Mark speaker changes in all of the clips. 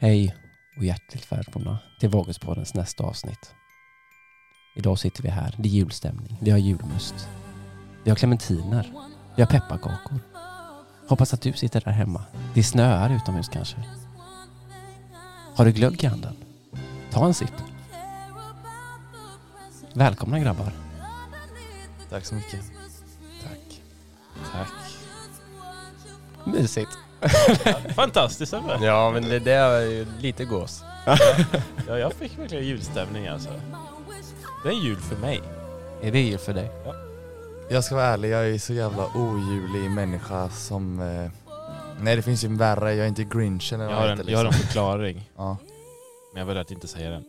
Speaker 1: Hej och hjärtligt välkomna till Vågespoddens nästa avsnitt. Idag sitter vi här. Det är julstämning. Vi har julmust. Vi har clementiner. Vi har pepparkakor. Hoppas att du sitter där hemma. Det snöar utomhus kanske. Har du glögg i handen? Ta en sipp. Välkomna grabbar.
Speaker 2: Tack så mycket. Tack. Tack.
Speaker 1: Mysigt.
Speaker 3: Fantastiskt eller?
Speaker 2: Ja, men det, det är ju lite gås.
Speaker 3: Ja, jag fick verkligen julstämning alltså. Det är jul för mig.
Speaker 1: Är det jul för dig?
Speaker 4: Jag ska vara ärlig, jag är så jävla ojulig människa som... Eh, nej det finns ju en värre, jag är inte grinchen eller
Speaker 3: Jag
Speaker 4: vad
Speaker 3: har
Speaker 4: heter, liksom.
Speaker 3: en, jag har en
Speaker 2: liksom.
Speaker 3: förklaring,
Speaker 4: Ja.
Speaker 3: men jag väljer att inte säga den.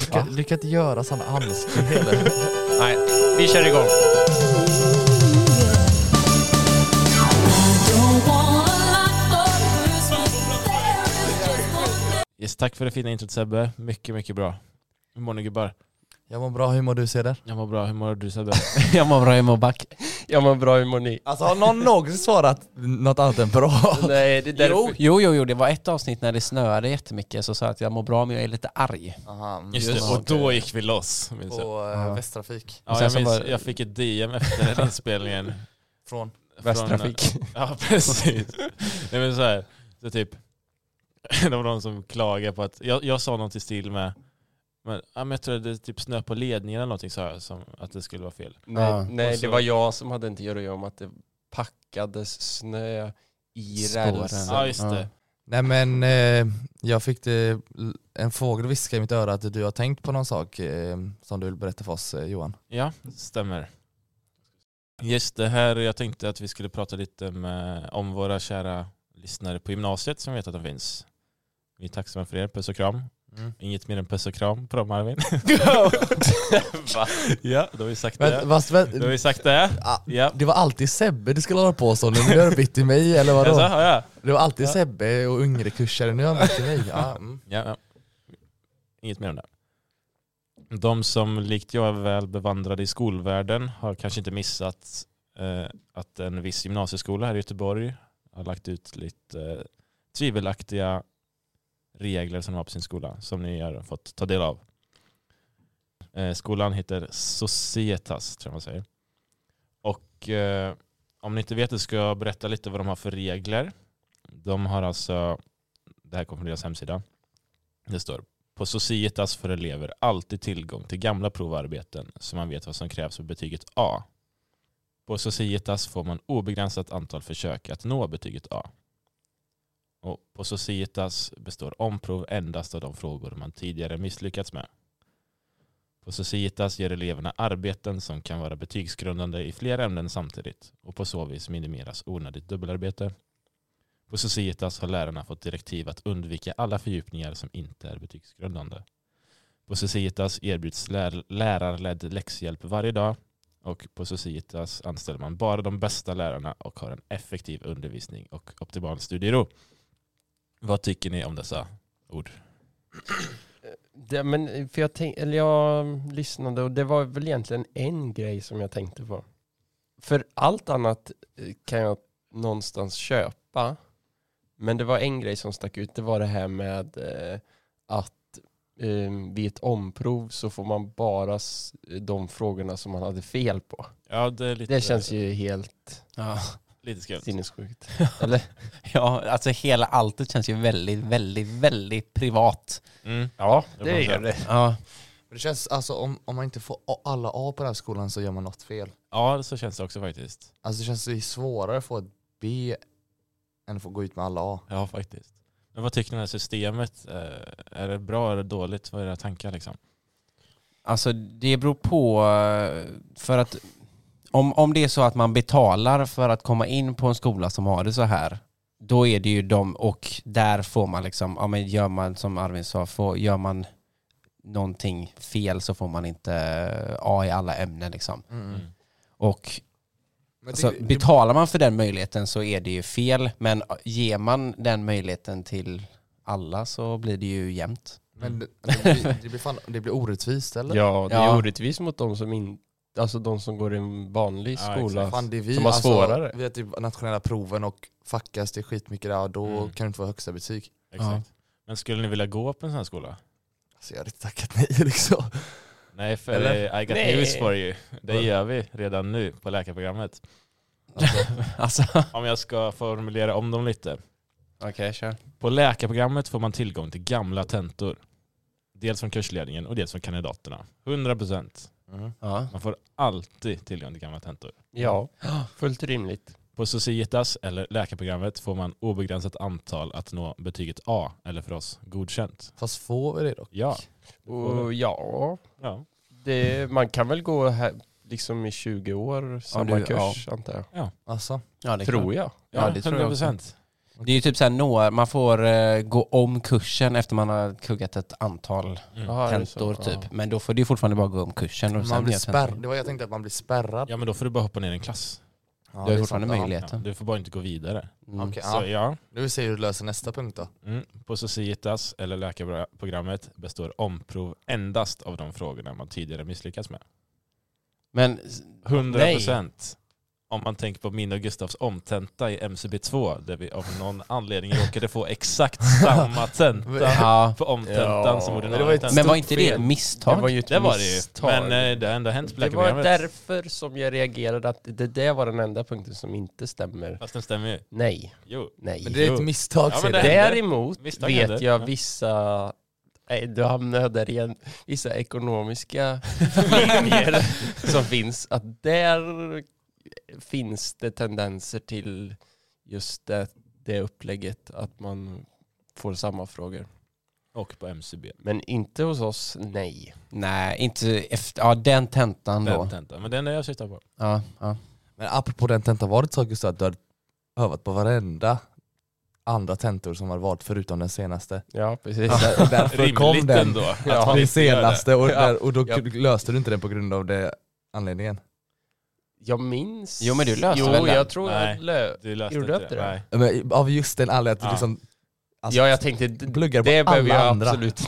Speaker 4: Du, kan, du kan inte göra sådana anspråk heller.
Speaker 2: Nej, vi kör igång.
Speaker 3: Yes, tack för det fina introt Sebbe. Mycket, mycket bra. Hur mår ni gubbar?
Speaker 4: Jag mår bra, hur mår du Ceder?
Speaker 3: Jag mår bra. Hur mår du Sebbe?
Speaker 1: Jag mår bra, jag mår back.
Speaker 2: Jag mår bra, hur mår ni?
Speaker 4: Alltså har någon någonsin svarat något annat än bra?
Speaker 2: Nej, det är därför.
Speaker 1: Jo, jo, jo, jo, det var ett avsnitt när det snöade jättemycket så sa jag att jag mår bra men jag är lite arg.
Speaker 4: Aha, mm,
Speaker 3: Just det, och då gick vi loss. Minns jag.
Speaker 4: På eh, Västtrafik.
Speaker 3: Ja,
Speaker 1: sen
Speaker 3: jag,
Speaker 1: så
Speaker 3: minns,
Speaker 1: var-
Speaker 3: jag fick ett DM efter den här inspelningen.
Speaker 4: Från?
Speaker 1: Västtrafik.
Speaker 3: Ja, precis. Nej, men så här, så typ, det var någon som klagade på att, jag, jag sa något i stil med, men, ja, men jag tror att det typ snö på ledningen eller någonting sa jag, som, att det skulle vara fel.
Speaker 2: Nej,
Speaker 1: Ja.
Speaker 2: nej
Speaker 3: Och så-
Speaker 2: det var jag som hade inte att göra om att det packades snö i
Speaker 1: Spåren.
Speaker 2: rälsen.
Speaker 3: Ja, just det.
Speaker 4: Nej men eh, jag fick det, en fågel viska i mitt öra att du har tänkt på någon sak eh, som du vill berätta för oss eh, Johan.
Speaker 3: Ja, stämmer. Just det här, jag tänkte att vi skulle prata lite med, om våra kära lyssnare på gymnasiet som vet att de finns. Vi är tacksamma för er, puss och kram.
Speaker 4: Mm.
Speaker 3: Inget mer än puss och kram på dem Arvin. ja, då har vi sagt
Speaker 4: Men,
Speaker 3: det.
Speaker 4: fast,
Speaker 3: Då har
Speaker 4: men,
Speaker 3: vi sagt det.
Speaker 4: ah,
Speaker 3: Ja.
Speaker 4: det var alltid Sebbe du skulle hålla på så, nu har du bytt till mig eller vadå?
Speaker 3: Alltså, har jag?
Speaker 4: Det var alltid
Speaker 3: Ja.
Speaker 4: Sebbe och Ungre-kursare, nu har han bytt till mig. Ja, mm.
Speaker 3: Ja, ja. Inget mer om det. De som likt jag är väl bevandrade i skolvärlden har kanske inte missat eh, att en viss gymnasieskola här i Göteborg har lagt ut lite eh, tvivelaktiga regler som de har på sin skola som ni har fått ta del av. Eh, skolan heter Societas tror jag man säger. Och eh, om ni inte vet det ska jag berätta lite vad de har för regler. De har alltså, det här kommer från deras hemsida, det står på Societas för elever alltid tillgång till gamla provarbeten så man vet vad som krävs för betyget A. På Societas får man obegränsat antal försök att nå betyget A. Och på Societas består omprov endast av de frågor man tidigare misslyckats med. På Societas ger eleverna arbeten som kan vara betygsgrundande i flera ämnen samtidigt och på så vis minimeras onödigt dubbelarbete. På Societas har lärarna fått direktiv att undvika alla fördjupningar som inte är betygsgrundande. På Societas erbjuds lär- lärarledd läxhjälp varje dag och på Societas anställer man bara de bästa lärarna och har en effektiv undervisning och optimal studiero. Vad tycker ni om dessa ord?
Speaker 2: Det, men för jag, tänk, eller jag lyssnade och det var väl egentligen en grej som jag tänkte på. För allt annat eh, kan jag någonstans köpa. Men det var en grej som stack ut. Det var det här med eh, att eh, vid ett omprov så får man bara s- de frågorna som man hade fel på.
Speaker 3: Ja, det, är lite,
Speaker 2: Det känns ju helt
Speaker 1: Ja.
Speaker 3: lite skumt.
Speaker 2: sinnessjukt. Eller?
Speaker 1: ja, alltså hela alltet känns ju väldigt, väldigt, väldigt privat.
Speaker 3: Mm.
Speaker 2: Ja,
Speaker 3: det gör
Speaker 2: det.
Speaker 1: Ja,
Speaker 4: Men Det känns, alltså, om, om man inte får a- alla A på den här skolan så gör man något fel.
Speaker 3: Ja, så känns det också faktiskt.
Speaker 4: Alltså det känns ju svårare att få ett B än att få gå ut med alla A.
Speaker 3: Ja, faktiskt. Men vad tycker ni om det här systemet? Eh, Är det bra eller dåligt? Vad är era tankar liksom?
Speaker 1: alltså det beror på eh, för att om, om det är så att man betalar för att komma in på en skola som har det så här då är det ju de och där får man liksom, ja men gör man som Arvin sa, får, gör man någonting fel så får man inte eh, A i alla ämnen liksom.
Speaker 3: Mm.
Speaker 1: Och
Speaker 4: Men
Speaker 1: Så betalar man för den möjligheten så är det ju fel, men ger man den möjligheten till alla så blir det ju jämnt.
Speaker 4: men det, det, blir, det, blir fan, det blir orättvist eller?
Speaker 2: Ja, det är
Speaker 1: Ja.
Speaker 2: orättvist mot de som inte alltså de som går i en vanlig
Speaker 3: Ja,
Speaker 2: skola.
Speaker 3: exakt.
Speaker 4: Fan, det är vi,
Speaker 2: Som har
Speaker 4: alltså,
Speaker 2: svårare.
Speaker 4: Vi har typ nationella proven och fuckas det skitmycket där och då
Speaker 3: Mm.
Speaker 4: kan du inte få högsta betyg.
Speaker 3: Exakt. Men skulle ni vilja gå på en sån här skola?
Speaker 4: Alltså jag hade inte tackat nej liksom.
Speaker 3: Nej, för
Speaker 4: Eller?
Speaker 3: I got
Speaker 2: Nej.
Speaker 3: news for you. Det gör vi redan nu på läkarprogrammet.
Speaker 1: Alltså,
Speaker 3: Om jag ska formulera om dem lite.
Speaker 1: okej kör.
Speaker 3: På läkarprogrammet får man tillgång till gamla tentor. Dels från kursledningen och dels från kandidaterna. 100%.
Speaker 1: Ja.
Speaker 3: Man får alltid tillgång till gamla tentor.
Speaker 2: Ja, fullt rimligt.
Speaker 3: På Societas eller läkarprogrammet får man obegränsat antal att nå betyget A, eller för oss godkänt.
Speaker 4: Fast får vi det då?
Speaker 3: Ja.
Speaker 2: Och ja,
Speaker 3: ja.
Speaker 2: det, man kan väl gå här, liksom i 20 år samma
Speaker 1: du-
Speaker 2: kurs antar jag.
Speaker 4: Alltså,
Speaker 1: Ja, det är klart.
Speaker 2: Tror jag.
Speaker 1: Ja, det tror jag också.
Speaker 3: 100%.
Speaker 1: Det är ju typ såhär, några, man får eh, gå om kursen efter man har kuggat ett antal
Speaker 3: Mm.
Speaker 2: Jaha, är det
Speaker 1: tentor
Speaker 2: så?
Speaker 1: typ.
Speaker 2: Ja.
Speaker 1: Men då får du ju fortfarande bara gå om kursen. Och sen
Speaker 4: man blir
Speaker 1: göra tentor.
Speaker 4: spärrad. Det var jag tänkte att man blir spärrad.
Speaker 3: Ja men då får du bara hoppa ner en klass.
Speaker 4: Ja,
Speaker 1: Du har
Speaker 4: det
Speaker 1: ju
Speaker 4: är
Speaker 1: fortfarande
Speaker 4: sant. Ja.
Speaker 3: Ja,
Speaker 1: möjligheten.
Speaker 3: du får bara inte gå vidare.
Speaker 1: Mm.
Speaker 4: Okej,
Speaker 3: Så
Speaker 4: ja.
Speaker 3: ja,
Speaker 4: Nu ser vi hur du löser nästa punkt då.
Speaker 3: mm. på Societas eller läkarprogrammet består omprov endast av de frågorna man tidigare misslyckats med.
Speaker 1: Men
Speaker 3: 100 procent. Om man tänker på min och Gustavs omtenta i MCB2 där vi av någon anledning råkade få exakt samma tenta
Speaker 1: ja.
Speaker 3: på omtentan
Speaker 2: Ja.
Speaker 3: som
Speaker 4: Men det var ju
Speaker 3: ordinarie
Speaker 4: ett
Speaker 3: tenta.
Speaker 1: Men var inte det
Speaker 4: fel.
Speaker 1: ett
Speaker 2: Det
Speaker 1: misstag?
Speaker 2: var ju ett
Speaker 3: Det var det ju.
Speaker 2: misstag.
Speaker 3: Men eh, det har ändå hänt på
Speaker 2: det var
Speaker 3: läkarprogrammet.
Speaker 2: därför som jag reagerade att det där var den enda punkten som inte stämmer.
Speaker 3: Fast den stämmer ju.
Speaker 2: Nej,
Speaker 3: Jo.
Speaker 2: nej.
Speaker 4: Men det är ett
Speaker 3: Jo.
Speaker 4: misstag
Speaker 3: Ja, men
Speaker 4: ser
Speaker 3: det-
Speaker 4: du.
Speaker 2: Däremot
Speaker 3: Visst, det
Speaker 2: vet
Speaker 3: händer.
Speaker 2: jag
Speaker 3: Ja.
Speaker 2: vissa, nej du hamnar jag där igen, vissa ekonomiska linjer som finns. Att där finns det tendenser till just det, det upplägget att man får samma frågor.
Speaker 3: Och på MCB.
Speaker 2: Men inte hos oss, nej.
Speaker 1: Nej, inte efter, ja den tentan då.
Speaker 3: Den tentan. Men den är jag syftar på.
Speaker 1: Ja, ja.
Speaker 4: Men apropå den tentan, var det så Gustav att du hade övat på varenda andra tentor som var valt förutom den senaste?
Speaker 2: Ja, precis.
Speaker 4: Där, därför kom
Speaker 3: Rimligt
Speaker 4: den.
Speaker 3: ändå. att
Speaker 2: Ja.
Speaker 3: man
Speaker 4: Den
Speaker 3: inte gör det.
Speaker 4: senaste och,
Speaker 2: Ja.
Speaker 4: där, och då
Speaker 2: Ja.
Speaker 4: löste du inte den på grund av det anledningen.
Speaker 2: Jag minns.
Speaker 1: Jo, men du löste
Speaker 2: jo,
Speaker 1: väl den?
Speaker 2: jag tror
Speaker 3: Nej.
Speaker 2: jag lö...
Speaker 3: Du löste
Speaker 2: Gjorde
Speaker 3: inte
Speaker 2: inte
Speaker 3: det.
Speaker 2: det?
Speaker 3: Nej.
Speaker 4: Men av just den anledningen att du
Speaker 3: Ja.
Speaker 4: liksom... alltså,
Speaker 2: Ja, jag tänkte d-
Speaker 4: Pluggar på
Speaker 2: det behöver
Speaker 4: alla
Speaker 2: jag
Speaker 4: andra.
Speaker 2: absolut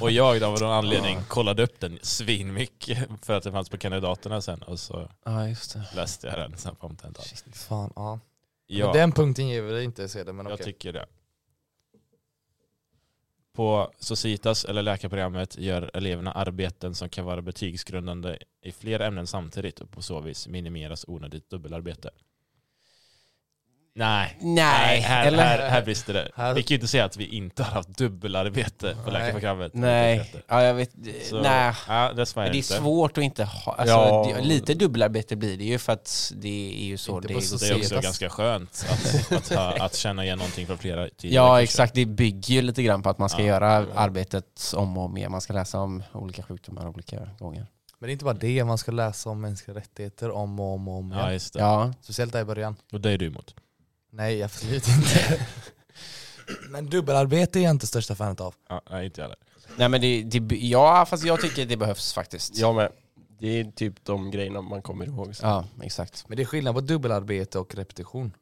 Speaker 3: Och jag då av någon anledning kollade upp den svinmycket för att det fanns på kandidaterna sen och så
Speaker 1: ja just det.
Speaker 3: läste jag den sen på omtentan.
Speaker 4: Fan, ja.
Speaker 3: Ja.
Speaker 4: Men Den punkten ger vi dig inte se det, men
Speaker 3: Jag
Speaker 4: okej.
Speaker 3: tycker det. På Societas eller läkarprogrammet gör eleverna arbeten som kan vara betygsgrundande i flera ämnen samtidigt och på så vis minimeras onödigt dubbelarbete. Nej,
Speaker 1: Nej,
Speaker 3: här,
Speaker 1: eller?
Speaker 3: här, här brister det.
Speaker 4: Här-
Speaker 3: Vi kan ju inte säga att vi inte har haft dubbelarbete på
Speaker 4: Nej.
Speaker 3: läkarprogrammet.
Speaker 1: Nej, ja, jag vet.
Speaker 3: Så,
Speaker 1: Nej.
Speaker 3: Ja, det
Speaker 1: Men
Speaker 3: svajar
Speaker 1: det är
Speaker 3: inte.
Speaker 1: svårt att inte ha, alltså,
Speaker 2: Ja.
Speaker 1: det, lite dubbelarbete blir det ju för att det är ju så
Speaker 4: Inte
Speaker 1: det går
Speaker 4: på
Speaker 3: Det är också
Speaker 4: Societas.
Speaker 3: ganska skönt att, att, ha, att känna igen någonting från flera tidigare
Speaker 1: Ja
Speaker 3: kurser.
Speaker 1: exakt, det bygger ju lite grann på att man ska
Speaker 3: Ja.
Speaker 1: göra arbetet om och om igen. Man ska läsa om olika sjukdomar olika gånger.
Speaker 4: Men det är inte bara det, man ska läsa om mänskliga rättigheter om och om och om
Speaker 3: Ja,
Speaker 4: igen.
Speaker 3: just det.
Speaker 1: Ja,
Speaker 4: Speciellt där i början.
Speaker 3: Och det är du emot.
Speaker 4: Nej, absolut inte. men dubbelarbete är jag inte största fanet av.
Speaker 3: Ja, nej, inte jag heller.
Speaker 1: nej men det, det, ja fast jag tycker det behövs faktiskt.
Speaker 2: Jag med. Det är typ de grejerna man kommer ihåg.
Speaker 1: Ja, exakt.
Speaker 4: Men det är skillnad på dubbelarbete och repetition.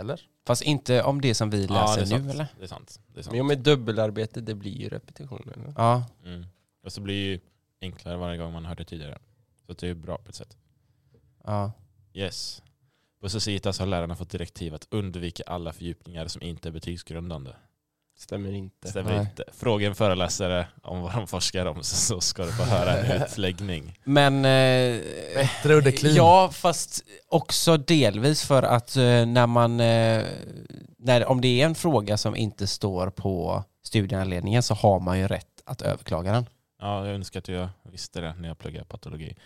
Speaker 4: Eller?
Speaker 1: Fast inte om det som vi
Speaker 3: Ja, det är
Speaker 1: läser
Speaker 3: sant.
Speaker 1: nu eller?
Speaker 3: Det är sant. Det är sant.
Speaker 2: Men om det är dubbelarbete, det blir ju repetition. Eller?
Speaker 1: Ja,
Speaker 3: Mm. Och så blir det ju enklare varje gång man hör det tidigare. Så det är ju bra på ett sätt.
Speaker 1: ja.
Speaker 3: Yes. På Societas har lärarna fått direktiv att undvika alla fördjupningar som inte är betygsgrundande.
Speaker 2: Stämmer inte.
Speaker 3: Stämmer
Speaker 1: Nej.
Speaker 3: inte. Fråga en föreläsare om vad de forskar om så- så ska du få höra en utläggning.
Speaker 1: Men... eh,
Speaker 4: Bättre och det clean.
Speaker 1: Ja, fast också delvis för att eh, när man... eh, när, om det är en fråga som inte står på studieanledningen så har man ju rätt att överklaga den.
Speaker 3: Ja, jag önskar att jag visste det när jag pluggade patologi.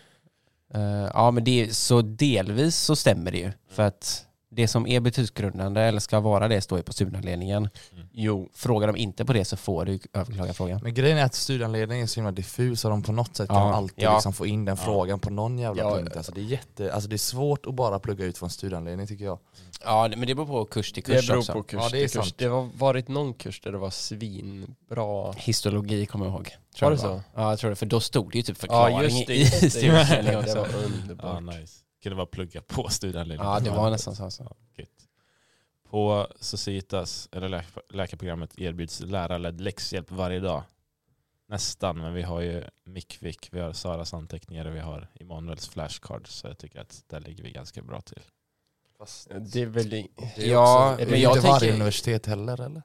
Speaker 1: Eh, ja, men det, så delvis så stämmer det ju.
Speaker 2: Mm.
Speaker 1: För att det som är betygsgrundande eller ska vara det står ju på studieanledningen.
Speaker 2: Jo.
Speaker 1: Frågar de inte på det så får du ju överklaga frågan.
Speaker 4: Men grejen är att studieanledningen är så himla diffus och de på något sätt
Speaker 1: Ja,
Speaker 4: kan alltid
Speaker 1: ja.
Speaker 4: liksom få in den
Speaker 3: Ja.
Speaker 4: frågan på någon jävla
Speaker 2: Ja,
Speaker 4: punkt. Alltså det, är jätte, alltså det är svårt att bara plugga ut från studieanledning tycker jag.
Speaker 1: Ja, men det beror på kurs till
Speaker 2: Det
Speaker 1: kurs
Speaker 2: beror
Speaker 1: också.
Speaker 2: på kurs.
Speaker 4: Ja, det är
Speaker 2: till kurs.
Speaker 4: sant.
Speaker 2: det har varit någon kurs där det var svinbra.
Speaker 1: Histologi kommer jag ihåg.
Speaker 2: Var
Speaker 1: tror
Speaker 2: det
Speaker 1: jag
Speaker 2: så?
Speaker 1: Ja, jag tror det. För då stod det ju typ förklaring i liksom.
Speaker 2: det
Speaker 1: studieanledningen också.
Speaker 2: var
Speaker 3: Ja,
Speaker 2: underbart.
Speaker 3: nice. Kunde vara plugga på studieanledningen.
Speaker 1: Ja, det var nästan så. så.
Speaker 3: Gött. På Societas, eller läk- läkarprogrammet, erbjuds lärarledd läxhjälp varje dag. Nästan, men vi har ju Mickvick, vi har Saras anteckningar och vi har Emanuels flashcards. Så jag tycker att där ligger vi ganska bra till.
Speaker 4: Fast
Speaker 2: Det är väl... i-
Speaker 4: det är
Speaker 1: Ja,
Speaker 4: också, det är
Speaker 1: men
Speaker 4: ju
Speaker 1: jag
Speaker 4: inte varje
Speaker 1: tänker-
Speaker 4: universitet heller eller?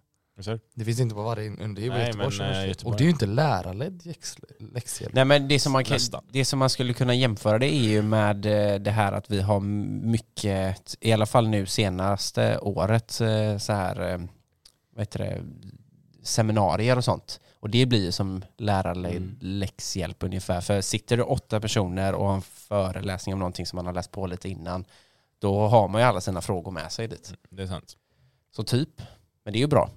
Speaker 4: Det finns inte på varje, det är ju bara
Speaker 3: Nej,
Speaker 4: Göteborgs
Speaker 3: men, eh,
Speaker 4: universitet.
Speaker 3: Göteborg.
Speaker 4: Och det är ju inte lärarledd jäx- läxhjälp.
Speaker 1: Nej men det som, man kan,
Speaker 3: Nästan.
Speaker 1: det som man skulle kunna jämföra det är ju med eh, det här att vi har mycket, i alla fall nu senaste året, eh, så här, eh, vad heter det, seminarier och sånt. Och det blir ju som
Speaker 3: Mm.
Speaker 1: lärarläxhjälp ungefär. För sitter det åtta personer och har en föreläsning om någonting som man har läst på lite innan, då har man ju alla sina frågor med sig dit.
Speaker 3: Mm, Det är sant.
Speaker 1: Så typ. Men det är ju bra.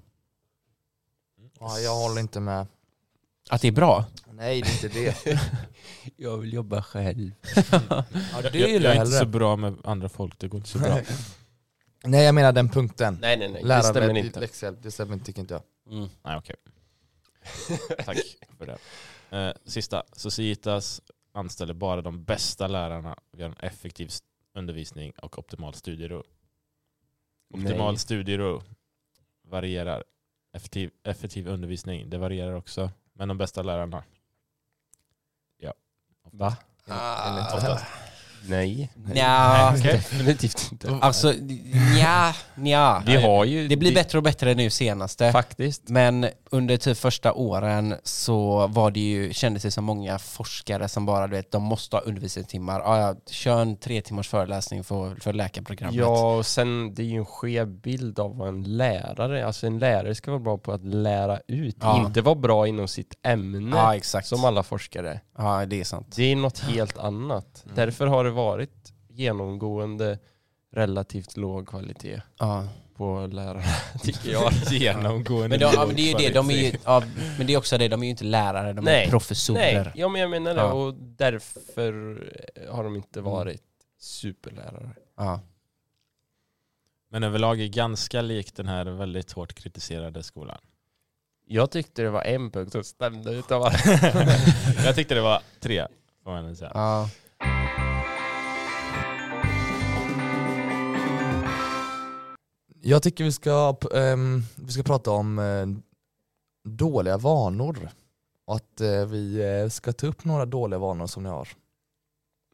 Speaker 4: Ja, jag håller inte med.
Speaker 1: Att det är bra.
Speaker 4: Nej det är inte det.
Speaker 2: Jag vill jobba själv.
Speaker 4: Ja,
Speaker 3: Jag,
Speaker 4: det
Speaker 3: jag,
Speaker 4: gillar
Speaker 3: jag är
Speaker 4: jag
Speaker 3: inte så
Speaker 4: hellre.
Speaker 3: bra med andra folk, det går inte så bra.
Speaker 4: Nej jag menar den punkten.
Speaker 2: Nej, nej, nej. Det stämmer
Speaker 4: Lärarledd
Speaker 2: inte.
Speaker 4: läxhjälp, det stämmer inte tycker inte jag.
Speaker 1: Mm.
Speaker 3: Nej, okej. Tack för det. Eh, sista. Societas anställer bara de bästa lärarna. Vi har en effektiv st- undervisning och optimal studiero. Optimal
Speaker 2: Nej.
Speaker 3: studiero varierar. Effektiv, effektiv undervisning, det varierar också. Men de bästa lärarna. Ja.
Speaker 2: Va?
Speaker 4: Enligt-
Speaker 1: Ah.
Speaker 3: Oftast.
Speaker 2: Nej.
Speaker 1: Nja,
Speaker 3: Nej, okej.
Speaker 2: Definitivt inte.
Speaker 1: alltså nja, nja.
Speaker 2: Vi har ju...
Speaker 1: Det blir bättre och bättre nu senaste.
Speaker 2: Faktiskt.
Speaker 1: Men under typ första åren så var det ju, kändes det som många forskare som bara, du vet, de måste ha undervisningstimmar. Ja, ja, kör en tre timmars föreläsning för, för läkarprogrammet.
Speaker 2: Ja, och sen det är ju en skev bild av vad en lärare är. Alltså en lärare ska vara bra på att lära ut,
Speaker 1: Ja.
Speaker 2: inte vara bra inom sitt ämne
Speaker 1: ja exakt.
Speaker 2: som alla forskare. är.
Speaker 1: Ja, det är sant.
Speaker 2: Det är något helt annat.
Speaker 3: Mm.
Speaker 2: Därför har det varit genomgående relativt låg kvalitet
Speaker 1: Ja.
Speaker 2: på lärarna, tycker jag.
Speaker 3: Genomgående
Speaker 1: Men, de, ja, men det är ju det, de är ju, ja, men det är också det, de är ju inte lärare, de
Speaker 2: Nej.
Speaker 1: är professorer.
Speaker 2: Nej, ja, men jag menar det.
Speaker 1: Ja. Mm.
Speaker 2: Och därför eh, har de inte varit superlärare.
Speaker 1: Ja.
Speaker 3: Men överlag är ganska lik den här väldigt hårt kritiserade skolan.
Speaker 2: Jag tyckte det var en punkt som stämde utav alla.
Speaker 3: Jag tyckte det var tre, får man ändå säga.
Speaker 1: Ja.
Speaker 4: Jag tycker vi ska, p- ehm, vi ska prata om eh, dåliga vanor. Och att eh, vi eh, ska ta upp några dåliga vanor som ni har.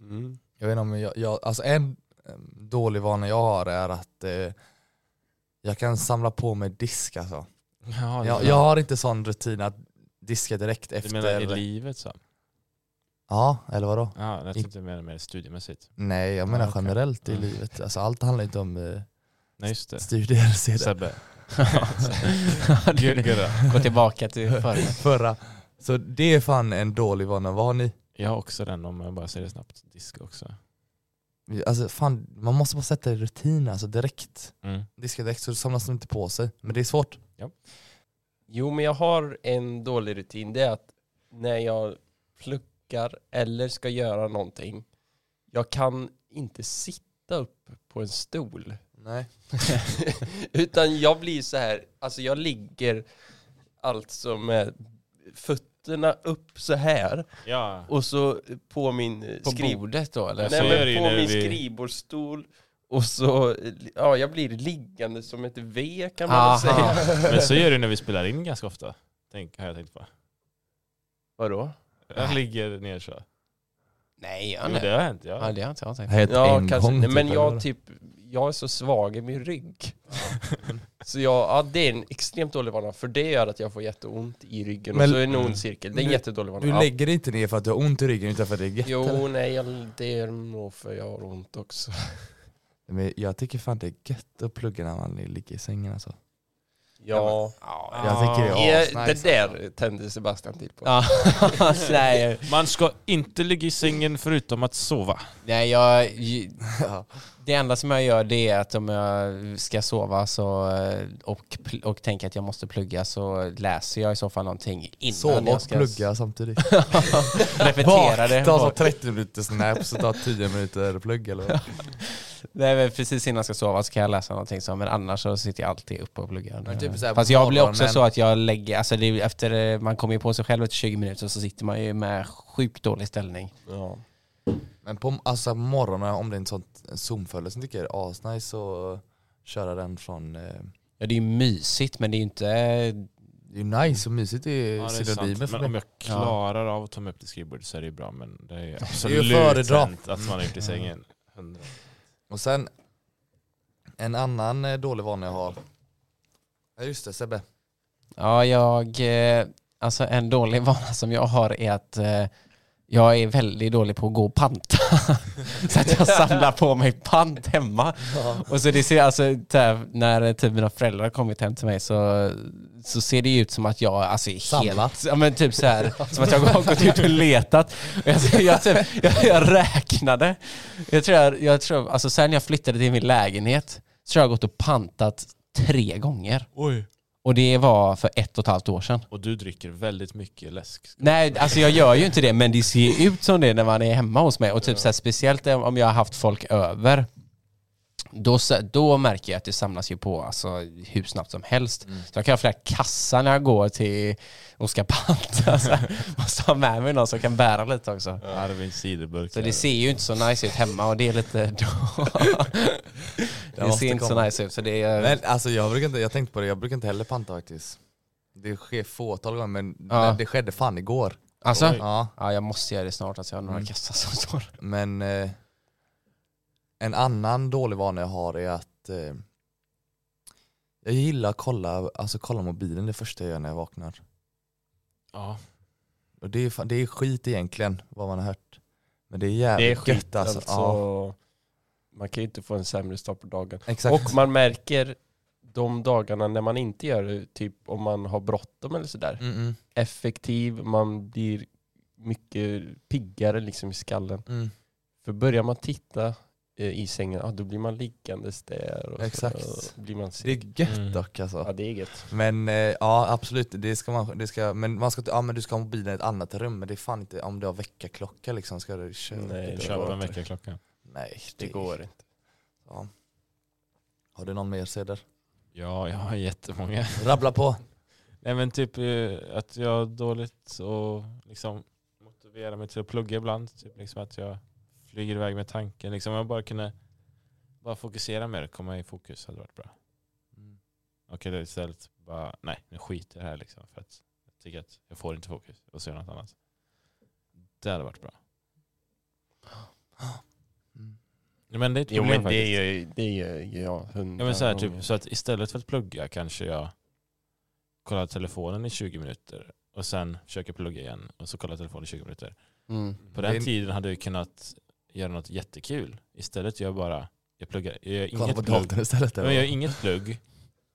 Speaker 2: Mm.
Speaker 4: Jag vet inte om jag, jag alltså en eh, dålig vana jag har är att eh, jag kan samla på mig disk alltså.
Speaker 3: Ja,
Speaker 4: Jag, jag har inte sån rutin att diska direkt
Speaker 3: Du
Speaker 4: efter.
Speaker 3: menar i livet så?
Speaker 4: ja, eller vadå?
Speaker 3: Ja, jag tänkte mer mer studiemässigt.
Speaker 4: Nej, jag
Speaker 3: Ja,
Speaker 4: menar
Speaker 3: okej.
Speaker 4: generellt i
Speaker 3: Mm.
Speaker 4: livet. Alltså, allt handlar inte om eh,
Speaker 3: Nej just det.
Speaker 4: studier. ser det.
Speaker 3: Sebbe.
Speaker 1: Ja, det är det. Gå tillbaka till förra.
Speaker 4: Förra. Så det är fan en dålig vana. Vad har ni?
Speaker 3: Jag har också den om jag bara säger det snabbt. Disk också.
Speaker 4: Alltså fan, man måste bara sätta i rutin alltså direkt.
Speaker 3: Mm.
Speaker 4: Diska direkt så samlas de inte på sig. Men det är svårt.
Speaker 2: Jo, men jag har en dålig rutin. Det är att när jag pluggar eller ska göra någonting, jag kan inte sitta upp på en stol.
Speaker 4: Nej.
Speaker 2: Utan jag blir så här, alltså jag ligger alltså med fötterna upp så här
Speaker 3: Ja.
Speaker 2: och så på min eh,
Speaker 1: På
Speaker 2: skriv...
Speaker 1: bordet då eller?
Speaker 3: så
Speaker 2: Nej,
Speaker 3: är det ju
Speaker 2: men på
Speaker 3: när
Speaker 2: min
Speaker 3: vi-
Speaker 2: skrivbordsstol och så, eh, ja jag blir liggande som ett V kan man
Speaker 1: Aha.
Speaker 2: väl säga.
Speaker 3: Men så gör du när vi spelar in ganska ofta. Tänk, har jag tänkt på.
Speaker 2: Vadå?
Speaker 3: Jag ligger ner så.
Speaker 1: Nej, ja,
Speaker 3: Jo,
Speaker 1: nej.
Speaker 3: det har hänt. Ja.
Speaker 1: Ja, det har inte jag tänkt.
Speaker 4: Helt
Speaker 2: Ja,
Speaker 4: en
Speaker 2: kanske.
Speaker 4: gång,
Speaker 2: Nej,
Speaker 4: typ,
Speaker 2: men
Speaker 4: eller
Speaker 2: jag
Speaker 4: vadå?
Speaker 2: typ, jag är så svag i min rygg. så jag, ja, det är en extremt dålig vana, för det gör att jag får jätteont i ryggen.
Speaker 4: Men-
Speaker 2: och så är det en ond cirkel. Det är en
Speaker 4: Du-
Speaker 2: jättedålig vana.
Speaker 4: Du
Speaker 2: Ja.
Speaker 4: lägger dig inte ner för att du har ont i ryggen utan för att det är gött. eller?
Speaker 2: Jo, nej, jag, det är nog för jag har ont också.
Speaker 4: Men jag tycker fan det är gött att plugga när man ligger i sängen alltså.
Speaker 2: Ja,
Speaker 1: Ja.
Speaker 4: Jag tycker
Speaker 3: Ah.
Speaker 4: det
Speaker 2: Ja,
Speaker 4: är
Speaker 2: det
Speaker 4: asnice.
Speaker 2: där tände Sebastian till på.
Speaker 1: Ja, nej,
Speaker 3: Man ska inte ligga i sängen förutom att sova.
Speaker 1: nej jag,
Speaker 4: Ja.
Speaker 1: det enda som jag gör det är att om jag ska sova så, eh, och, pl- och tänker att jag måste plugga så läser jag i så fall någonting innan
Speaker 4: Sova
Speaker 1: jag
Speaker 4: och
Speaker 1: ska
Speaker 4: plugga samtidigt.
Speaker 1: repetera det.
Speaker 4: Ta så 30 minuter snap så ta 10 minuter plugg eller vad?
Speaker 1: Nej, men precis innan jag ska sova så kan jag läsa någonting så, men annars så sitter jag alltid uppe och pluggar.
Speaker 4: Ja, typ så här på
Speaker 1: Fast jag blir också
Speaker 4: morgonen.
Speaker 1: så att jag lägger, alltså det, är ju efter, eh, man kommer ju på sig själv efter 20 minuter så sitter man ju med sjukt dålig ställning.
Speaker 2: Ja.
Speaker 4: Men på alltså, på morgonen om det är en sån zoomfölje så tycker jag det är asnice att köra den från eh,
Speaker 1: Ja, det är ju mysigt men det är ju inte,
Speaker 4: Det är ju nice och mysigt i
Speaker 3: Ja, det är
Speaker 4: sidan
Speaker 3: sant.
Speaker 4: livet.
Speaker 3: Men om jag klarar av att ta mig upp till skrivbordet så är det ju bra. Men det är ju Mm. absolut
Speaker 4: föredra.
Speaker 3: sant att man har gjort i sängen. 100.
Speaker 4: Och sen en annan eh, dålig vana jag har. Ja just det Sebbe.
Speaker 1: Ja, jag... eh, Alltså en dålig vana som jag har är att eh, jag är väldigt dålig på att gå och panta. så att jag samlar på mig pant hemma. Och så det ser alltså, så här, när typ mina föräldrar har kommit hem till mig så, så ser det ju ut som att jag alltså, är helt...
Speaker 4: Samlat.
Speaker 1: Ja men typ så här, som att jag har gått ut och letat. Och jag, jag, typ, jag, jag räknade. Jag tror, jag, jag tror, alltså sen jag flyttade till min lägenhet så har jag gått och pantat tre gånger.
Speaker 3: Oj.
Speaker 1: Och det var för ett och ett halvt år sedan.
Speaker 3: Och du dricker väldigt mycket läsk.
Speaker 1: Nej, alltså jag gör ju inte det, men det ser ut som det när man är hemma hos mig. Och typ så här, speciellt om jag har haft folk över, då, så- då märker jag att det samlas ju på alltså, hur snabbt som helst.
Speaker 4: Mm.
Speaker 1: Så jag kan ha flera kassar när jag går till och ska panta. Så här. Måste ha med mig någon som kan bära lite också.
Speaker 3: Arvin ciderburk.
Speaker 1: Så det ser ju inte så nice ut hemma och det är lite då. Det,
Speaker 4: måste
Speaker 1: ser inte så
Speaker 4: komma.
Speaker 1: nice ut. Så det är,
Speaker 4: Men alltså jag brukar inte, jag tänkte på det, jag brukar inte heller panta faktiskt. Det sker fåtal gånger men
Speaker 1: Ja.
Speaker 4: men det skedde fan igår.
Speaker 1: alltså,
Speaker 3: Oj.
Speaker 4: Ja,
Speaker 1: ja, jag måste göra det snart, alltså, jag har några
Speaker 4: Mm.
Speaker 1: kassar som står.
Speaker 4: men eh, en annan dålig vana jag har är att eh, jag gillar att kolla, alltså kolla mobilen det första jag gör när jag vaknar.
Speaker 3: Ja.
Speaker 4: Och det är, fan, det är skit egentligen vad man har hört. Men det är jävligt
Speaker 2: Det är skit
Speaker 4: gött alltså.
Speaker 2: alltså.
Speaker 4: Ja,
Speaker 2: Man kan ju inte få en sämre start på dagen.
Speaker 4: exakt.
Speaker 2: Och man märker de dagarna när man inte gör det, typ om man har bråttom eller sådär.
Speaker 4: Mm, mm,
Speaker 2: Effektiv, man blir mycket piggare liksom i skallen.
Speaker 4: mm.
Speaker 2: För börjar man titta eh, i sängen, ah, då blir man liggandes där. Och
Speaker 4: Exakt.
Speaker 2: Så blir man
Speaker 4: Det
Speaker 2: seg.
Speaker 4: är gött
Speaker 3: Mm.
Speaker 4: dock
Speaker 2: Ja,
Speaker 4: alltså.
Speaker 2: det är gött.
Speaker 4: Men eh, ja absolut, det ska man, det ska, men man ska, inte- ja men du ska ha mobilen i ett annat rum men det är fan inte, om du har väckarklocka liksom ska du köra.
Speaker 2: Nej, det
Speaker 3: Köpa
Speaker 2: går
Speaker 3: en
Speaker 2: inte.
Speaker 3: väckarklocka.
Speaker 4: Nej,
Speaker 2: Det går inte.
Speaker 4: Ja. Har du någon mer Ceder?
Speaker 3: Ja, jag har jättemånga.
Speaker 4: Rabbla på.
Speaker 3: Nej men typ eh, att jag har dåligt och liksom motiverar mig till att plugga ibland. Typ liksom att jag flyger iväg med tanken. Liksom om jag bara kunde bara fokusera mer, komma i fokus hade varit bra.
Speaker 1: Mm.
Speaker 3: Okej, då istället bara, nej nu skiter jag i det här liksom. För att jag tycker att jag får inte fokus och så gör jag något annat. Det hade varit bra.
Speaker 4: Mm.
Speaker 3: Ja, Men det är ett
Speaker 2: Jo
Speaker 3: problem
Speaker 2: men det
Speaker 3: faktiskt.
Speaker 2: är ju, det är ju ja, hundra
Speaker 3: Ja, men så, här,
Speaker 2: gånger.
Speaker 3: typ, så att istället för att plugga kanske jag kollar telefonen i 20 minuter och sen försöker plugga igen och så kollar jag telefonen i 20 minuter.
Speaker 1: Mm.
Speaker 3: På den
Speaker 4: Det är-
Speaker 3: tiden hade jag kunnat göra något jättekul. Istället gör jag bara, jag pluggar, jag gör
Speaker 4: Kolla på
Speaker 3: inget plugg.
Speaker 4: datorn istället.
Speaker 3: Ja,
Speaker 4: eller
Speaker 3: Men
Speaker 4: vad?
Speaker 3: jag gör inget plugg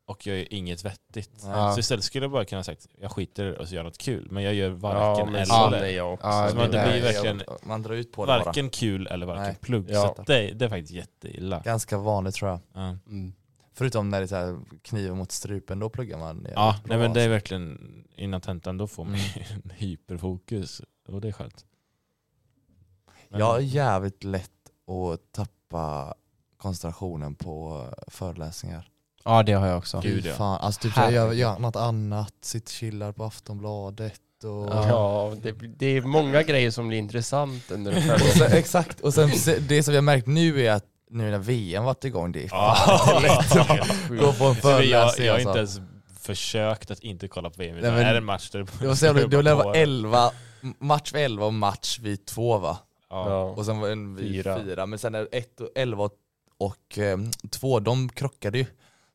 Speaker 3: och jag gör inget vettigt.
Speaker 1: Ja.
Speaker 3: Så istället skulle jag bara kunna sagt, jag skiter och så gör jag något kul. Men jag gör
Speaker 2: Ja,
Speaker 3: varken
Speaker 2: men
Speaker 3: eller.
Speaker 2: så är jag också.
Speaker 1: Ja,
Speaker 3: Så man- det
Speaker 1: där-
Speaker 3: blir verkligen-
Speaker 4: Man drar ut på det bara.
Speaker 3: Varken kul eller varken
Speaker 4: Nej.
Speaker 3: plugg.
Speaker 2: Ja.
Speaker 3: Så att det, det är faktiskt jätteilla. Ja.
Speaker 4: Ganska vanligt tror jag.
Speaker 3: Ja.
Speaker 1: Mm.
Speaker 4: Förutom när det är så här kniven mot strupen, då pluggar man.
Speaker 3: nej men det är verkligen innan tentan, då får man ju
Speaker 4: Mm.
Speaker 3: en hyperfokus. Och det är skönt. Men-
Speaker 4: Jag är jävligt lätt att tappa koncentrationen på föreläsningar.
Speaker 1: Ja, det har jag också.
Speaker 3: Gud,
Speaker 4: Fy
Speaker 3: ja.
Speaker 4: Fan. Alltså typ jag gör,
Speaker 1: Herregud.
Speaker 4: gör något annat, sitter och chillar på Aftonbladet och...
Speaker 2: Ja, det, det är många grejer som blir intressant under en
Speaker 4: Och
Speaker 2: föreläsning.
Speaker 4: sen, exakt, och sen se- det som jag märkt nu är att nu när VM varit igång, det är
Speaker 3: Ja.
Speaker 4: fan inte lätt att gå på
Speaker 3: Så vi-
Speaker 4: en
Speaker 3: jag,
Speaker 4: föreläsning
Speaker 3: jag har inte
Speaker 4: alltså.
Speaker 3: ens försökt att inte kolla på VM.
Speaker 4: Nej,
Speaker 3: utan
Speaker 4: men-
Speaker 3: är det en match där
Speaker 4: Det var så jävla, det var
Speaker 3: bara
Speaker 4: elva
Speaker 3: tårar.
Speaker 4: 11, match vid 11 och match vid 2 va?
Speaker 3: Ja.
Speaker 2: Ja.
Speaker 4: Och sen var en vid
Speaker 2: Fyra.
Speaker 4: 4, men sen är 1 och 11 och- och 2, de krockade ju.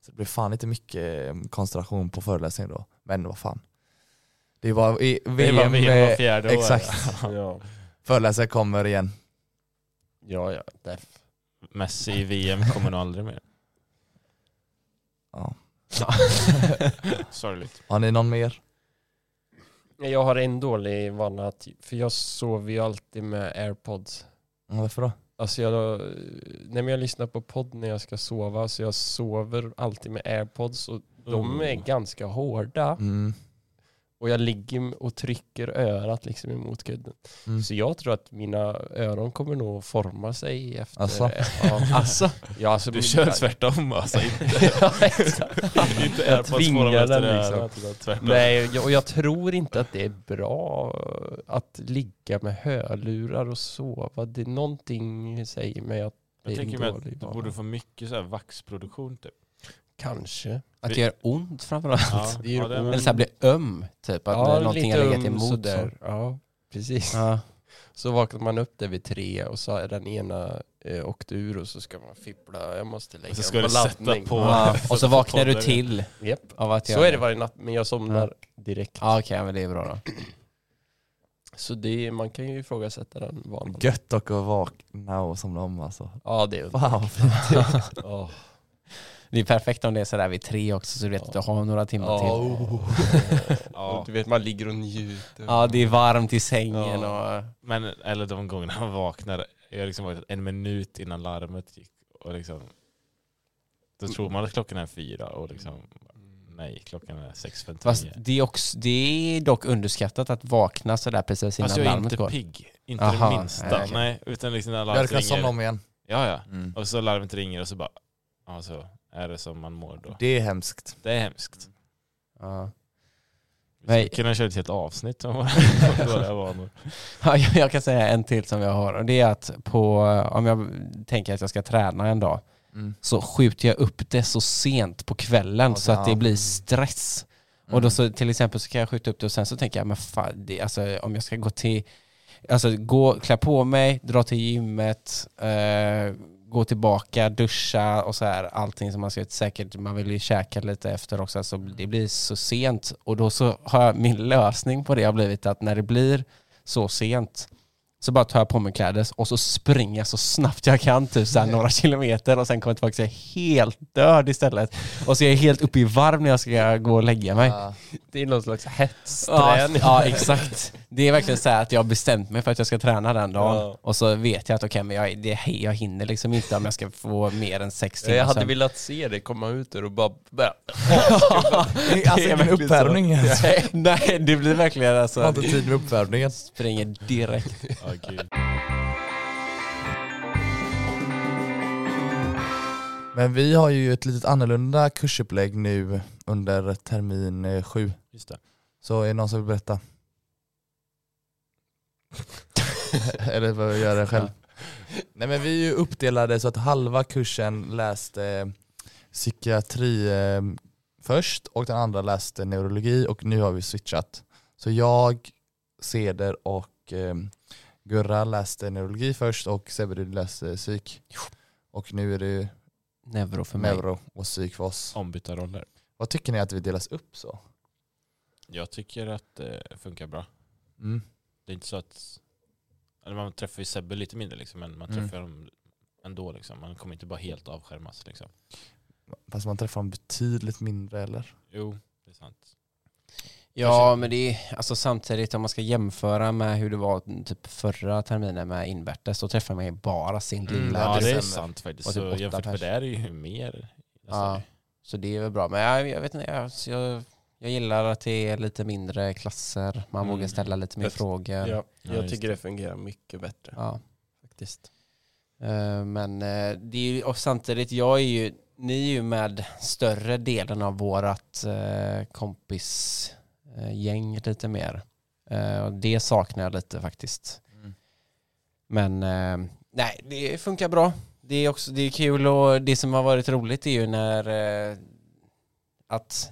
Speaker 4: Så det blev fan inte mycket eh, koncentration på föreläsningen då. Men vad fan. Det var i VM,
Speaker 3: Det var VM var
Speaker 4: eh,
Speaker 3: fjärde år.
Speaker 4: exakt.
Speaker 2: Ja,
Speaker 4: föreläsaren kommer igen.
Speaker 2: ja, ja. Där.
Speaker 3: Messi i VM kommer nog aldrig mer.
Speaker 4: Ja.
Speaker 3: Sorgligt.
Speaker 4: Har ni någon mer?
Speaker 2: Jag har en dålig vana, att, för jag sover ju alltid med airpods.
Speaker 4: Ja, Varför då?
Speaker 2: Alltså jag, nej men jag lyssnar på podd när jag ska sova, så jag sover alltid med airpods. Och de är
Speaker 3: Oh.
Speaker 2: ganska hårda.
Speaker 4: Mm.
Speaker 2: Och jag ligger och trycker örat liksom emot kudden.
Speaker 4: Mm.
Speaker 2: Så jag tror att mina öron kommer nog forma sig efter...
Speaker 4: Alltså?
Speaker 2: Ja, alltså, ja, alltså
Speaker 3: Du kör tvärtom alltså.
Speaker 2: ja, exakt.
Speaker 3: Inte
Speaker 2: Jag
Speaker 3: airpods på dem
Speaker 2: tvingar
Speaker 3: efter
Speaker 2: den
Speaker 3: det här.
Speaker 2: liksom.
Speaker 3: Tvärtom.
Speaker 2: Nej, jag- och jag tror inte att det är bra att ligga med hörlurar och sova. Det är någonting säger mig att det
Speaker 3: Jag
Speaker 2: är
Speaker 3: tänker
Speaker 2: en
Speaker 3: mig
Speaker 2: dålig
Speaker 3: att du
Speaker 2: vana.
Speaker 3: borde få mycket så här vaxproduktion typ.
Speaker 2: Kanske.
Speaker 1: Att
Speaker 3: Vi-
Speaker 1: det gör ont framförallt.
Speaker 3: Ja,
Speaker 2: Det är ju
Speaker 3: ja, det är
Speaker 1: Eller
Speaker 3: väl-
Speaker 1: så här blir öm, typ. Att när någonting har legat
Speaker 2: öm
Speaker 1: emot.
Speaker 2: um, sådär.
Speaker 1: Så.
Speaker 2: Ja, precis.
Speaker 1: Ja.
Speaker 2: Så vaknar man upp där vid tre och så är den ena eh, åkt ur och så ska man fippla. Jag måste lägga
Speaker 3: Och så
Speaker 2: den
Speaker 3: ska du
Speaker 2: på
Speaker 3: sätta
Speaker 2: laddning.
Speaker 3: på-
Speaker 1: Ja. Och så vaknar du
Speaker 3: Poddar.
Speaker 1: till
Speaker 2: Japp.
Speaker 1: av att jag...
Speaker 2: Så är det varje natt, men jag somnar direkt.
Speaker 1: Ja, okej, men det är bra då.
Speaker 2: Så det, man kan ju ifrågasätta den vanan.
Speaker 4: Gött dock att vakna och somna om alltså.
Speaker 2: Ja, det är underbart.
Speaker 4: Fan vad fint.
Speaker 2: Ja.
Speaker 1: Det är perfekt om det är sådär vid tre också så du vet att du har några timmar till.
Speaker 3: Ja.
Speaker 2: Och typ- Du vet, man ligger och njuter.
Speaker 1: Ja, det är varmt i sängen
Speaker 2: Ja.
Speaker 1: och...
Speaker 3: Men, eller de gångerna man vaknar, jag har liksom vaknat en minut innan larmet gick. Och liksom, då tror man att klockan är fyra och liksom, nej klockan är
Speaker 1: Fast
Speaker 3: 6.59.
Speaker 1: det är, också, det är dock underskattat att vakna sådär precis innan
Speaker 3: Fast jag är
Speaker 1: larmet
Speaker 3: inte
Speaker 1: går.
Speaker 3: pigg, inte
Speaker 1: Aha,
Speaker 3: det minsta.
Speaker 1: nej,
Speaker 3: Nej,
Speaker 1: okej.
Speaker 3: utan liksom när
Speaker 4: Jag hade
Speaker 3: larmet
Speaker 4: kunnat somna
Speaker 3: ringer.
Speaker 4: om igen.
Speaker 3: Ja, ja. Och så larmet ringer och så bara, ja så är det som man mår då.
Speaker 4: Det är hemskt.
Speaker 3: Det är hemskt.
Speaker 1: Ja.
Speaker 3: Vi
Speaker 1: Nej.
Speaker 3: skulle kunna köra ett helt avsnitt om våra dåliga vanor.
Speaker 1: Ja, jag- jag kan säga en till som jag har och det är att på, eh, om jag tänker att jag ska träna en dag
Speaker 4: Mm.
Speaker 1: så skjuter jag upp det så sent på kvällen
Speaker 4: Ja, Mm.
Speaker 1: så att det
Speaker 4: ja.
Speaker 1: blir stress. Och då så till exempel så kan jag skjuta upp det och sen så tänker jag, men fan, det, alltså, om jag ska gå till, alltså gå, klä på mig, dra till gymmet, eh, gå tillbaka, duscha och så här, allting som man ska göra. Säkert, man vill ju käka lite efter också, så
Speaker 4: Mm.
Speaker 1: det blir så sent. Och då så har jag, min lösning på det har blivit att när det blir så sent så bara tar jag på mig kläder och så springer jag så snabbt jag kan, typ så här några kilometer och sen kommer jag tillbaka så jag är helt död istället. Och så är jag helt uppe i varv när jag ska gå och lägga mig.
Speaker 4: Ja.
Speaker 2: Det är någon slags
Speaker 1: Ja,
Speaker 2: hetsträning.
Speaker 1: ja, exakt. Det är verkligen så här att jag har bestämt mig för att jag ska träna den dagen.
Speaker 2: Ja.
Speaker 1: Och så vet jag att okej, men jag, det, jag hinner liksom inte om jag ska få mer än sex timmar
Speaker 2: Jag hade
Speaker 1: sömn.
Speaker 2: velat se dig komomma ut ur och bara börja
Speaker 4: Det är alltså
Speaker 2: Det är
Speaker 4: ingen
Speaker 2: verkligen så.
Speaker 4: uppvärmning ens.
Speaker 1: Nej, det blir verkligen alltså...
Speaker 4: Jag har inte tid med uppvärmningen.
Speaker 1: springer direkt.
Speaker 3: Ja, gud.
Speaker 4: Men vi har ju ett litet annorlunda kursupplägg nu under termin eh, sju.
Speaker 3: Just det.
Speaker 4: Så är det någon som vill berätta? Eller vad gör det själv? Nej men vi är ju uppdelade så att halva kursen läste eh, psykiatri eh, först och den andra läste neurologi och nu har vi switchat. Så jag, Ceder och eh, Gurra läste neurologi först och Sebbe du läste psyk. Och nu är det
Speaker 1: Neuro för mig.
Speaker 4: neuro och psyk för oss.
Speaker 3: Ombytta roller.
Speaker 4: Vad tycker ni att vi delas upp så?
Speaker 3: Jag tycker att det funkar bra.
Speaker 4: Mm.
Speaker 3: Det är inte så att... Eller man träffar ju Sebbe lite mindre liksom, men man
Speaker 4: Mm.
Speaker 3: träffar dem ändå. Liksom. Man kommer inte bara helt avskärmas. Liksom.
Speaker 4: Fast man träffar dem betydligt mindre eller?
Speaker 3: Jo, det är sant.
Speaker 1: Ja, men det är alltså samtidigt om man ska jämföra med hur det var typ förra terminen med invärtes, då träffar man ju bara sin
Speaker 4: Mm,
Speaker 1: lilla.
Speaker 3: Ja,
Speaker 4: det
Speaker 3: det är
Speaker 4: stämmer.
Speaker 3: sant faktiskt.
Speaker 1: Och typ
Speaker 3: Så
Speaker 1: åtta
Speaker 3: jämfört med
Speaker 1: pers.
Speaker 3: det är det ju mer. Alltså,
Speaker 1: Ja.
Speaker 3: Ja.
Speaker 1: Så det är väl bra. Men jag, jag vet inte, jag, så jag, jag gillar att det är lite mindre klasser, man
Speaker 3: Mm.
Speaker 1: vågar ställa lite mer
Speaker 2: Bäst.
Speaker 1: frågor.
Speaker 2: Ja,
Speaker 3: Ja, just
Speaker 2: jag tycker det fungerar mycket bättre
Speaker 1: Ja.
Speaker 2: faktiskt.
Speaker 1: Eh, Men eh, det är ju, och samtidigt, jag är ju, ni är ju med större delen av vårat eh, kompisgäng lite mer. Eh, Och det saknar jag lite faktiskt.
Speaker 4: Mm.
Speaker 1: Men eh, nej, det funkar bra. Det är också det är kul och det som har varit roligt är ju när eh, att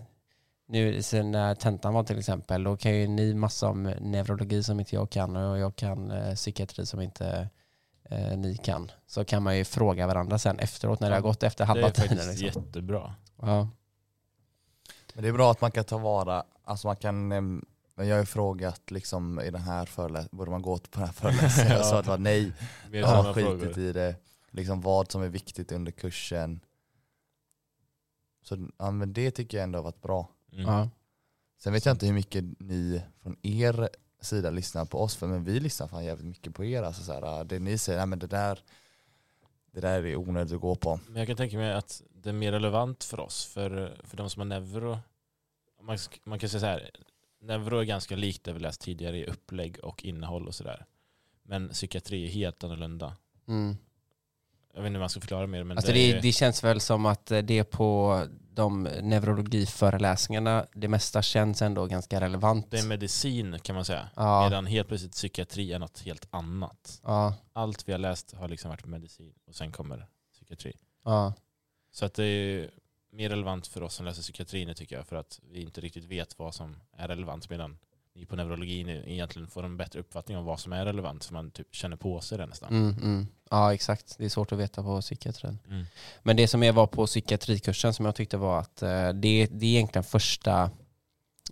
Speaker 1: nu sen när tentan var till exempel, då kan ju ni massa om neurologi som inte jag kan och jag kan eh, psykiatri som inte eh, ni kan. Så kan man ju fråga varandra sen efteråt när det har gått efter
Speaker 3: Det är
Speaker 1: halva tiden.
Speaker 3: faktiskt Mm.
Speaker 1: Liksom.
Speaker 3: jättebra.
Speaker 1: Ja.
Speaker 4: Men det är bra att man kan ta vara, alltså man kan, ehm, jag har ju frågat liksom i den här föreläsningen, borde man gå på den här föreläsningen? Jag sa att det var nej,
Speaker 3: Mer
Speaker 4: jag har
Speaker 3: sådana
Speaker 4: skitit
Speaker 3: frågor.
Speaker 4: i det. Liksom vad som är viktigt under kursen. Så ja, men det tycker jag ändå har varit bra.
Speaker 3: Mm.
Speaker 1: Ja.
Speaker 4: Sen vet jag inte hur mycket ni från er sida lyssnar på oss, för men vi lyssnar fan jävligt mycket på er. Alltså, så här, det ni säger, nej, men det där, det där är onödigt att gå på.
Speaker 3: Men jag kan tänka mig att det är mer relevant för oss, för, för de som har neuro. Man, sk- man kan säga så här, neuro är ganska likt det vi läst tidigare i upplägg och innehåll och sådär. Men psykiatri är helt annorlunda.
Speaker 1: Mm.
Speaker 3: Jag vet inte hur man ska förklara mer, men
Speaker 1: Alltså det, det känns väl som att eh, det på de neurologiföreläsningarna, det mesta känns ändå ganska relevant.
Speaker 3: det är medicin kan man säga.
Speaker 1: ja,
Speaker 3: Medan helt plötsligt psykiatri är något helt annat.
Speaker 1: ja,
Speaker 3: Allt vi har läst har liksom varit medicin och sen kommer psykiatri.
Speaker 1: ja.
Speaker 3: Så att det är, mer relevant för oss som läser psykiatri nu tycker jag, för att vi inte riktigt vet vad som är relevant, medan ni på neurologin egentligen får en bättre uppfattning om vad som är relevant, för man typ känner på sig det nästan.
Speaker 1: Mm, mm. Ja, exakt. Det är svårt att veta på psykiatrin.
Speaker 3: Mm.
Speaker 1: Men det som jag var på psykiatrikursen som jag tyckte var att eh, det, det är egentligen första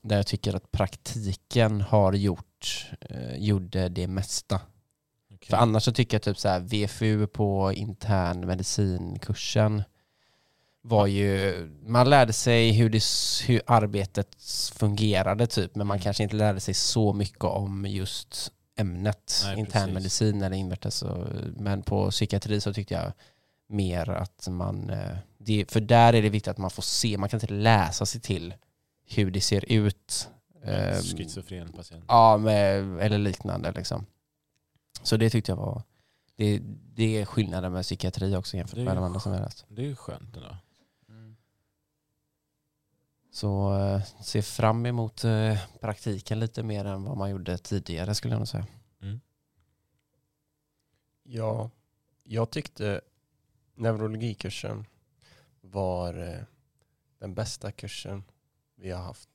Speaker 1: där jag tycker att praktiken har gjort, eh, gjorde det mesta.
Speaker 3: Okej.
Speaker 1: För annars så tycker jag typ så här VFU på intern medicinkursen var ju, man lärde sig hur, det, s- hur arbetet s- fungerade typ, men
Speaker 3: Mm.
Speaker 1: man kanske inte lärde sig så mycket om just ämnet
Speaker 3: Nej,
Speaker 1: intern
Speaker 3: precis.
Speaker 1: medicin eller invärtes. och- Men på psykiatri så tyckte jag mer att man, eh, det, för där är det viktigt att man får se, man kan inte läsa sig till hur det ser ut.
Speaker 3: En
Speaker 1: ehm,
Speaker 3: Schizofren patient.
Speaker 1: Ja, med, eller liknande liksom. Så det tyckte jag var... Det, det är skillnaden med psykiatri också jämfört
Speaker 3: Det är
Speaker 1: med de
Speaker 3: ju
Speaker 1: andra som är läst.
Speaker 3: Det är ju skönt Mm. ändå.
Speaker 1: Så eh, se fram emot eh, praktiken lite mer än vad man gjorde tidigare skulle jag nog säga.
Speaker 2: Ja, jag tyckte neurologikursen var eh, den bästa kursen vi har haft.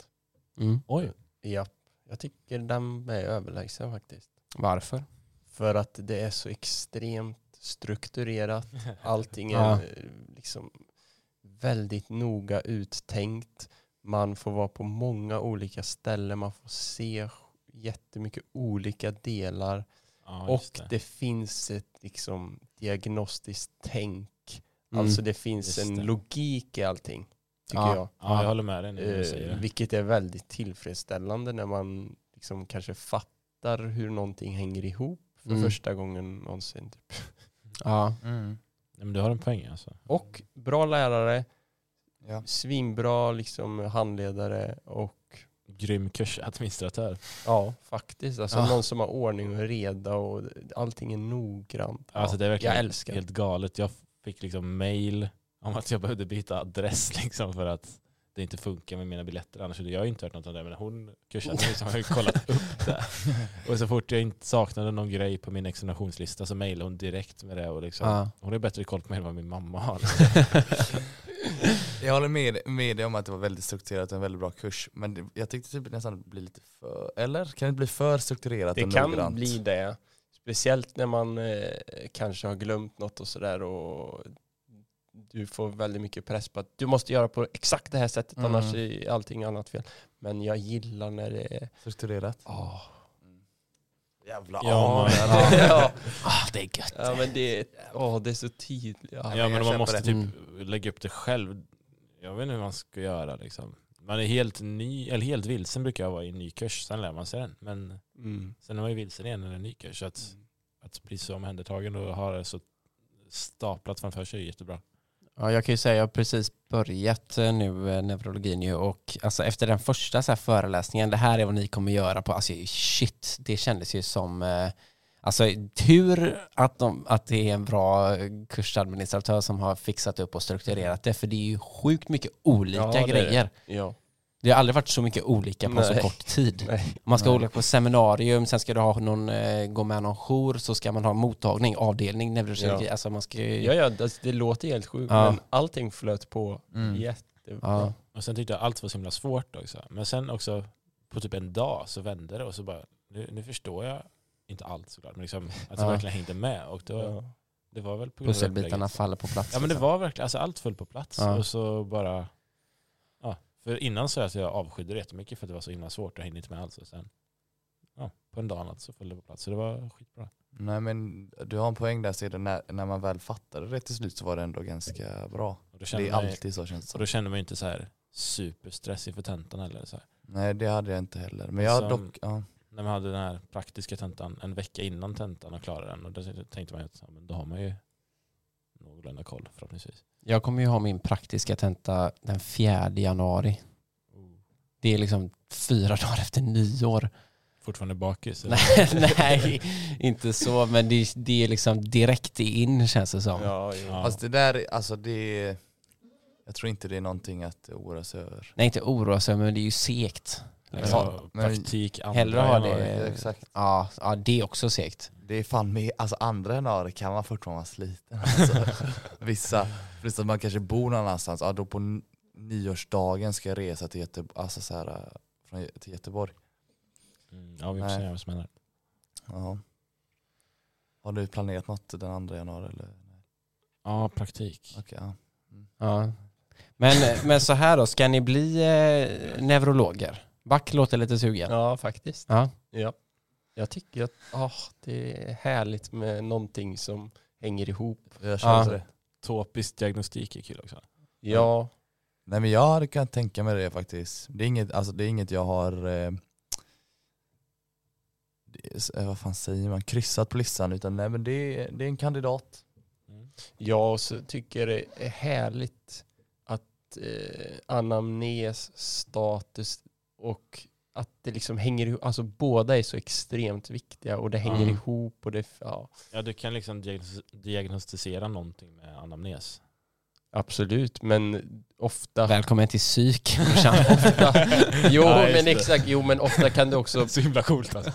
Speaker 1: Mm.
Speaker 3: Oj.
Speaker 2: Ja, jag tycker den är överlägsen faktiskt.
Speaker 1: Varför?
Speaker 2: För att det är så extremt strukturerat. Allting är
Speaker 1: Ja.
Speaker 2: eh, liksom väldigt noga uttänkt. Man får vara på många olika ställen. Man får se jättemycket olika delar.
Speaker 3: Ja,
Speaker 2: Och
Speaker 3: just
Speaker 2: det. finns ett liksom, diagnostiskt tänk.
Speaker 1: Mm.
Speaker 2: Alltså det finns
Speaker 3: Just
Speaker 2: en
Speaker 3: det.
Speaker 2: logik i allting, tycker
Speaker 1: Ja.
Speaker 2: jag.
Speaker 3: Ja, jag håller med dig när du säger
Speaker 2: Eh,
Speaker 3: det.
Speaker 2: vilket är väldigt tillfredsställande när man liksom kanske fattar hur någonting hänger ihop för
Speaker 1: Mm.
Speaker 2: första gången någonsin. Typ.
Speaker 1: Ja.
Speaker 4: Mm.
Speaker 3: Nej, men du har en poäng alltså.
Speaker 2: Och bra lärare,
Speaker 4: Ja.
Speaker 2: svinbra liksom handledare och
Speaker 3: Grym kursadministratör.
Speaker 2: ja, faktiskt. Alltså
Speaker 1: Ja.
Speaker 2: någon som har ordning och reda och allting är noggrant.
Speaker 3: Alltså, det är verkligen
Speaker 2: jag älskar det.
Speaker 3: Helt galet. Jag fick liksom mail om att jag behövde byta adress liksom för att det inte funkar med mina biljetter. Annars hade jag inte hört något om det. Men hon kursadministratören har ju kollat upp det. Och så fort jag inte saknade någon grej på min examinationslista så mejlade hon direkt med det. Och liksom,
Speaker 1: Ja.
Speaker 3: Hon har bättre koll på mig än vad min mamma har.
Speaker 4: Jag håller med, med dig om att det var väldigt strukturerat och en väldigt bra kurs. Men det, jag tyckte typ nästan att det blir lite för, eller? Kan det inte bli för strukturerat
Speaker 2: Det
Speaker 4: och
Speaker 2: kan
Speaker 4: noggrant?
Speaker 2: bli det. Speciellt när man eh, kanske har glömt något och sådär och du får väldigt mycket press på att du måste göra på exakt det här sättet
Speaker 4: Mm.
Speaker 2: annars är allting annat fel. Men jag gillar när det är...
Speaker 4: Strukturerat.
Speaker 1: Ah.
Speaker 2: Oh.
Speaker 4: Jävla
Speaker 3: Ja,
Speaker 4: avel.
Speaker 2: Ja, ja.
Speaker 1: Ah, det är gött.
Speaker 2: ja men det är, åh, det är så tydligt. Ja.
Speaker 3: Ja
Speaker 4: jag
Speaker 3: men man
Speaker 4: köper
Speaker 3: måste
Speaker 4: det.
Speaker 3: typ lägga upp det själv. Jag vet inte hur man ska göra liksom. Man är helt ny, eller helt vilsen brukar jag vara i en ny kurs, sen lär man sig den. Men
Speaker 2: Mm.
Speaker 3: sen är man ju vilsen igen när en ny kurs. Så att, att bli så omhändertagen och ha det så staplat framför sig är jättebra.
Speaker 1: Ja, jag kan ju säga jag har precis börjat eh, nu eh, neurologin ju och alltså efter den första så här föreläsningen, det här är vad ni kommer göra på, alltså shit, det kändes ju som, eh, alltså tur att, de, att det är en bra eh, kursadministratör som har fixat upp och strukturerat det, för det är ju sjukt mycket olika
Speaker 2: Ja, det är det.
Speaker 1: grejer.
Speaker 2: Ja.
Speaker 1: Det har aldrig varit så mycket olika på så
Speaker 2: Nej.
Speaker 1: kort tid.
Speaker 2: Nej.
Speaker 1: Man ska
Speaker 4: Nej.
Speaker 1: hålla på seminarium, sen ska du ha någon, eh, gå med någon jour, så ska man ha mottagning, avdelning, neurokirurgi,
Speaker 2: Ja.
Speaker 1: alltså man ska ju...
Speaker 2: Ja, ja, det, det låter helt sjukt
Speaker 1: Ja.
Speaker 2: men allting flöt på
Speaker 4: Mm.
Speaker 2: jättebra.
Speaker 1: Ja.
Speaker 3: Och sen tyckte jag allt var så himla svårt också. Men sen också på typ en dag så vände det och så bara, nu, nu förstår jag inte allt såklart, men liksom att jag
Speaker 1: Ja.
Speaker 3: verkligen hängde med. Och det var,
Speaker 2: Ja.
Speaker 3: det var väl på grund av det
Speaker 1: Pusselbitarna
Speaker 3: upplägget.
Speaker 1: faller på plats.
Speaker 3: Ja men det
Speaker 1: liksom.
Speaker 3: var verkligen, alltså allt föll på plats
Speaker 1: Ja.
Speaker 3: och så bara, ja. För innan så att jag avskydde det jättemycket för att det var så himla svårt och jag hängde inte med alls. Och sen, ja, på en dag annat så föll det på plats. Så det var skitbra.
Speaker 4: Nej men du har en poäng där Cedric, när, när man väl fattade det till slut så var det ändå ganska bra.
Speaker 3: Och då
Speaker 4: Det
Speaker 3: kände,
Speaker 4: är
Speaker 3: man, ju-
Speaker 4: alltid så känns det
Speaker 3: och
Speaker 4: som.
Speaker 3: då kände man ju inte så här superstress inför tentan eller så här.
Speaker 4: Nej det hade jag inte heller. Men jag
Speaker 3: Som-
Speaker 4: dock, ja.
Speaker 3: När man hade den här praktiska tentan en vecka innan tentan och klarade den. Och då tänkte man ju att ja, men då har man ju någorlunda koll förhoppningsvis.
Speaker 1: Jag kommer ju ha min praktiska tenta den 4 januari. Det är liksom fyra dagar efter nyår.
Speaker 3: Fortfarande bakis. eller?
Speaker 1: Nej, nej inte så, men det, det är liksom direkt in känns det som.
Speaker 2: Ja, jo.
Speaker 3: Ja.
Speaker 4: Fast det där, alltså det, jag tror inte det är någonting att oroa sig över.
Speaker 1: Nej, inte oroa sig, men det är ju segt. Liksom.
Speaker 4: Ja, men-
Speaker 3: Praktik andra
Speaker 1: Hellre ha det.
Speaker 3: januari.
Speaker 4: Ja, exakt.
Speaker 1: Ja, ja, det är också segt.
Speaker 4: Det är fan med, alltså andra januari kan man fortfarande vara sliten. Alltså, vissa, plus att man kanske bor någon annanstans, ja, då på n- nyårsdagen ska jag resa till Göteborg, alltså så här, eh, från, Gö- till Göteborg.
Speaker 3: Mm, Ja, vi får
Speaker 4: Nej.
Speaker 3: se vad som händer.
Speaker 4: Ja. Har du planerat något den andra januari? Eller?
Speaker 3: Ja, praktik.
Speaker 4: Okej, ja.
Speaker 1: Ja. Men, men så här då, ska ni bli eh, neurologer? Back låter lite sugen.
Speaker 2: Ja, faktiskt.
Speaker 1: Ja.
Speaker 2: Ja. Jag tycker att ah, det är härligt med någonting som hänger ihop.
Speaker 4: Jag kör
Speaker 1: Ja.
Speaker 4: på det.
Speaker 3: Topisk diagnostik är kul också.
Speaker 2: Ja,
Speaker 4: Nej men jag hade kunnat tänka mig det faktiskt. Det är inget, alltså, det är inget jag har, eh, det är, s- eh, vad fan säger man, kryssat på listan utan nej men det, är- det är en kandidat.
Speaker 3: Mm.
Speaker 2: jag så tycker jag det är härligt att eh, anamnes, status och att det liksom hänger ihop. Alltså båda är så extremt viktiga och det hänger
Speaker 3: Mm.
Speaker 2: ihop och det, ja.
Speaker 3: Ja, du kan liksom diagnos- diagnostisera någonting med anamnes.
Speaker 2: Absolut, men ofta
Speaker 1: Välkommen till psyk.
Speaker 2: ofta, jo,
Speaker 3: Ja, just
Speaker 2: men
Speaker 3: det.
Speaker 2: exakt, jo men ofta kan du också
Speaker 3: Så himla coolt alltså.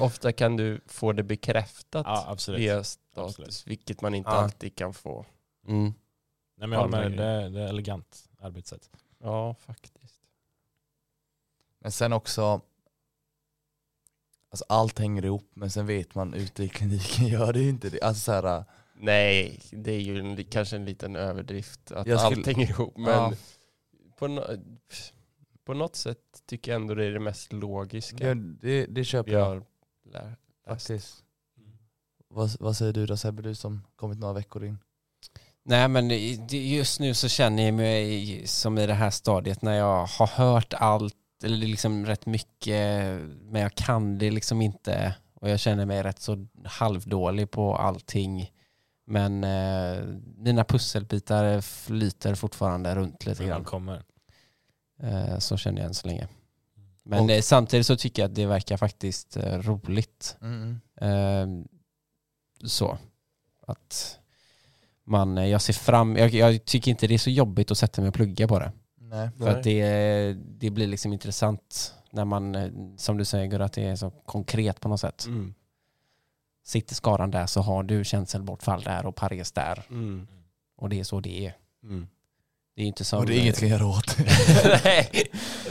Speaker 2: ofta kan du få det bekräftat
Speaker 3: Ja, absolut.
Speaker 2: via status,
Speaker 3: Absolut.
Speaker 2: vilket man inte
Speaker 1: Ja.
Speaker 2: alltid kan få.
Speaker 1: Mm.
Speaker 3: Nej, men jag håller
Speaker 2: Alla
Speaker 3: med, dig. det, är- det är elegant arbetssätt.
Speaker 2: Ja, faktiskt.
Speaker 4: Men sen också, alltså allt hänger ihop men sen vet man ute i kliniken gör det ju inte det. Alltså så här, eh,
Speaker 2: Nej, det är ju en, li- kanske en liten överdrift att
Speaker 4: Jag skulle-
Speaker 2: allt hänger ihop, men
Speaker 4: Ja.
Speaker 2: på, nå- på något sätt tycker jag ändå det är det mest logiska
Speaker 4: det, det, det Mm. köper
Speaker 2: vi
Speaker 4: jag
Speaker 2: har lär- läst.
Speaker 4: faktiskt. Vad, vad säger du då Sebbe, du som kommit några veckor in?
Speaker 1: Nej men det- det- just nu så känner jag mig som i det här stadiet när jag har hört allt, eller liksom rätt mycket, men jag kan det liksom inte. Och jag känner mig rätt så halvdålig på allting. Men eh, mina pusselbitar flyter fortfarande runt lite
Speaker 3: De
Speaker 1: grann.
Speaker 3: kommer.
Speaker 1: Eh, så känner jag än så länge. Men eh, samtidigt så tycker jag att det verkar faktiskt eh, roligt. Eh, så. Att man, eh, jag ser fram, jag, jag tycker inte det är så jobbigt att sätta mig och plugga på det.
Speaker 4: Nej.
Speaker 1: För att det, det blir liksom intressant när man, eh, som du säger Gurra, att det är så konkret på något sätt.
Speaker 2: Mm.
Speaker 1: Sitter skaran där så har du känselbortfall där och pares där.
Speaker 2: Mm.
Speaker 1: Och det är så det är.
Speaker 2: Mm.
Speaker 1: Det är ju inte som... eh,
Speaker 4: Och det är inget jag kan göra åt.
Speaker 1: Nej.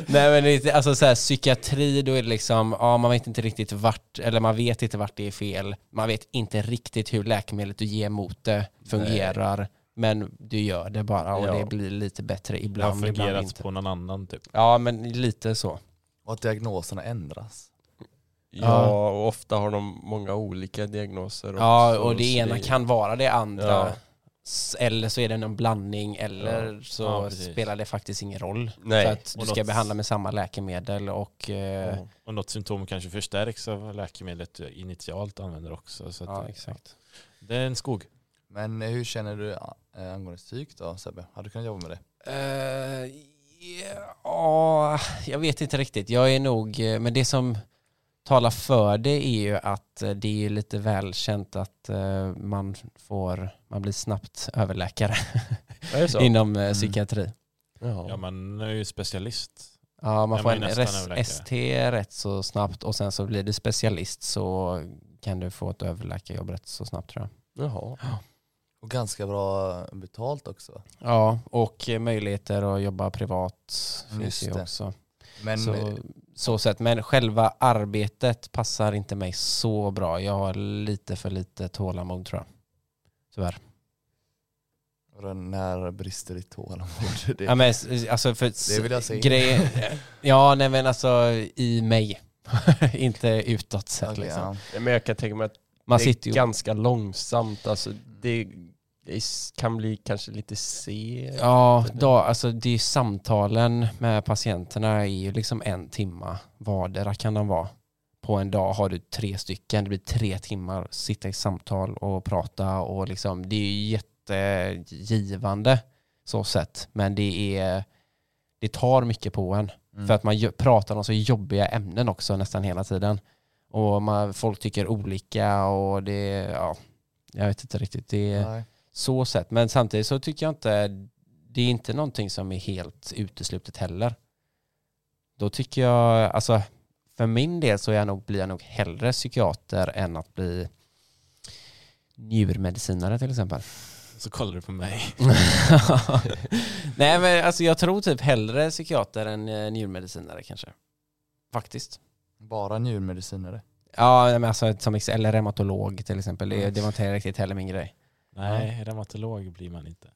Speaker 1: Nej men det är, inte- alltså så här, psykiatri då är det liksom, ja man vet inte riktigt vart, eller man vet inte vart det är fel. Man vet inte riktigt hur läkemedlet du ger mot det fungerar. Men du gör det bara och
Speaker 2: Ja.
Speaker 1: det blir lite bättre
Speaker 3: Det har
Speaker 1: ibland, ibland
Speaker 3: fungerat
Speaker 1: inte.
Speaker 3: på någon annan typ.
Speaker 1: Ja men lite så.
Speaker 4: Och att diagnoserna ändras.
Speaker 2: Ja, och ofta har de många olika diagnoser.
Speaker 1: Ja
Speaker 2: också,
Speaker 1: och det
Speaker 2: så
Speaker 1: ena kan vara det andra.
Speaker 2: Ja.
Speaker 1: S- Eller så är det någon blandning eller så
Speaker 3: Ja, precis.
Speaker 1: spelar det faktiskt ingen roll.
Speaker 2: Nej.
Speaker 1: För att du
Speaker 3: Och
Speaker 1: ska
Speaker 3: något-
Speaker 1: behandla med samma läkemedel och eh,
Speaker 2: Ja.
Speaker 3: Och något symptom kanske förstärks av läkemedlet du initialt använder också. Så att
Speaker 1: ja
Speaker 3: det,
Speaker 1: exakt.
Speaker 3: det är en skog.
Speaker 4: Men hur känner du eh, angående psyk då Sebbe? Har du kunnat jobba med det?
Speaker 1: Eh, Ja, jag vet inte riktigt. Jag är nog, eh, men det som talar för det är ju att eh, det är lite välkänt att eh, man får, man blir snabbt överläkare
Speaker 2: Är det så?
Speaker 1: inom eh, psykiatri.
Speaker 2: Ja.
Speaker 3: Ja, man är ju specialist.
Speaker 1: Ja, man
Speaker 3: Ja,
Speaker 1: får
Speaker 3: men
Speaker 1: en
Speaker 3: nästan
Speaker 1: res-
Speaker 3: överläkare.
Speaker 1: ST rätt så snabbt och sen så blir du specialist så kan du få ett överläkarjobb rätt så snabbt tror jag.
Speaker 2: Jaha.
Speaker 4: Och ganska bra betalt också.
Speaker 1: Ja, och eh, möjligheter att jobba privat finns
Speaker 4: Just
Speaker 1: ju
Speaker 4: det.
Speaker 1: också.
Speaker 4: Men eh,
Speaker 1: så, så sätt. Men själva arbetet passar inte mig så bra. Jag har lite för lite tålamod tror jag. Tyvärr.
Speaker 4: vadå, när brister ditt tålamod? Det,
Speaker 1: Ja, men, s- alltså, för, s-
Speaker 4: det vill jag se.
Speaker 1: grejen- ja, nej men alltså i mig. inte utåt sett
Speaker 4: Okej,
Speaker 1: liksom.
Speaker 4: ja.
Speaker 2: Nej, Men jag kan tänka mig att
Speaker 1: Man
Speaker 2: det
Speaker 1: sitter
Speaker 2: är
Speaker 1: ju...
Speaker 2: ganska långsamt. Alltså, det, det s- kan bli kanske lite segt.
Speaker 1: Ja, då, alltså det är ju samtalen med patienterna är ju liksom en timma vardera kan de vara. På en dag har du tre stycken, det blir tre timmar sitta i samtal och prata och liksom det är ju jättegivande så sett. Men det är det tar mycket på en.
Speaker 4: Mm.
Speaker 1: För att man ju- pratar om så jobbiga ämnen också nästan hela tiden. Och man, folk tycker olika och det, ja, jag vet inte riktigt. Det,
Speaker 4: Nej.
Speaker 1: så sett. Men samtidigt så tycker jag inte, det är inte någonting som är helt uteslutet heller. Då tycker jag, alltså för min del så är jag nog, blir jag nog hellre psykiater än att bli njurmedicinare till exempel.
Speaker 3: Så kollar du på mig.
Speaker 1: Nej men alltså jag tror typ hellre psykiater än eh, njurmedicinare kanske. Faktiskt.
Speaker 4: Bara njurmedicinare.
Speaker 1: Ja men alltså som ex- eller reumatolog till exempel. Det, det var inte riktigt heller min grej.
Speaker 3: Nej, reumatolog blir man inte.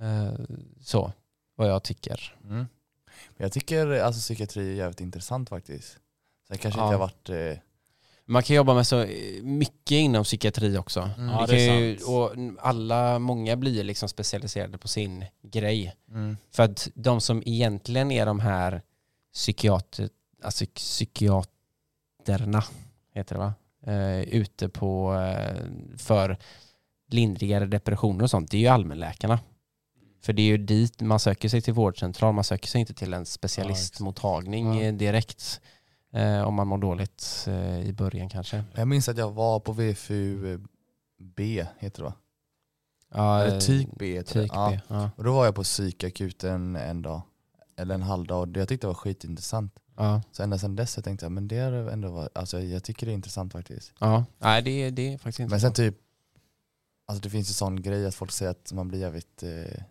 Speaker 1: Eh, Så, vad jag tycker.
Speaker 4: Mm. Men Jag tycker eh, alltså, psykiatri är jävligt intressant faktiskt. Sen kanske
Speaker 1: Ja.
Speaker 4: inte har varit... Eh,
Speaker 1: Man kan jobba med så eh, mycket inom psykiatri också.
Speaker 4: Mm.
Speaker 3: Ja,
Speaker 1: Vi
Speaker 3: det är
Speaker 1: kan ju,
Speaker 3: sant.
Speaker 1: och alla, många blir liksom specialiserade på sin grej.
Speaker 4: mm.
Speaker 1: För att de som egentligen är de här psykiater, alltså psykiaterna, heter det va? Eh, ute på, eh, för lindrigare depressioner och sånt, det är ju allmänläkarna. För det är ju dit man söker sig till vårdcentral, man söker sig inte till en specialistmottagning
Speaker 4: Ja.
Speaker 1: eh, direkt. Eh, om man mår dåligt eh, i början kanske.
Speaker 4: Jag minns att jag var på VFU eh, B heter det va?
Speaker 1: Ja,
Speaker 4: Eller typ B heter det.
Speaker 1: typ
Speaker 4: Ja.
Speaker 1: B. Ja.
Speaker 4: Och då var jag på psykakuten en dag, eller en halv dag, och jag tyckte det var skitintressant.
Speaker 1: Ja.
Speaker 4: Så ända sedan dess så tänkte jag, men det är ändå, vad- alltså jag tycker det är intressant faktiskt.
Speaker 1: Ja. Nej, det, är- det är faktiskt inte
Speaker 4: Men sen
Speaker 1: sant.
Speaker 4: typ, alltså det finns ju sån grej att folk säger att man blir jävligt eh,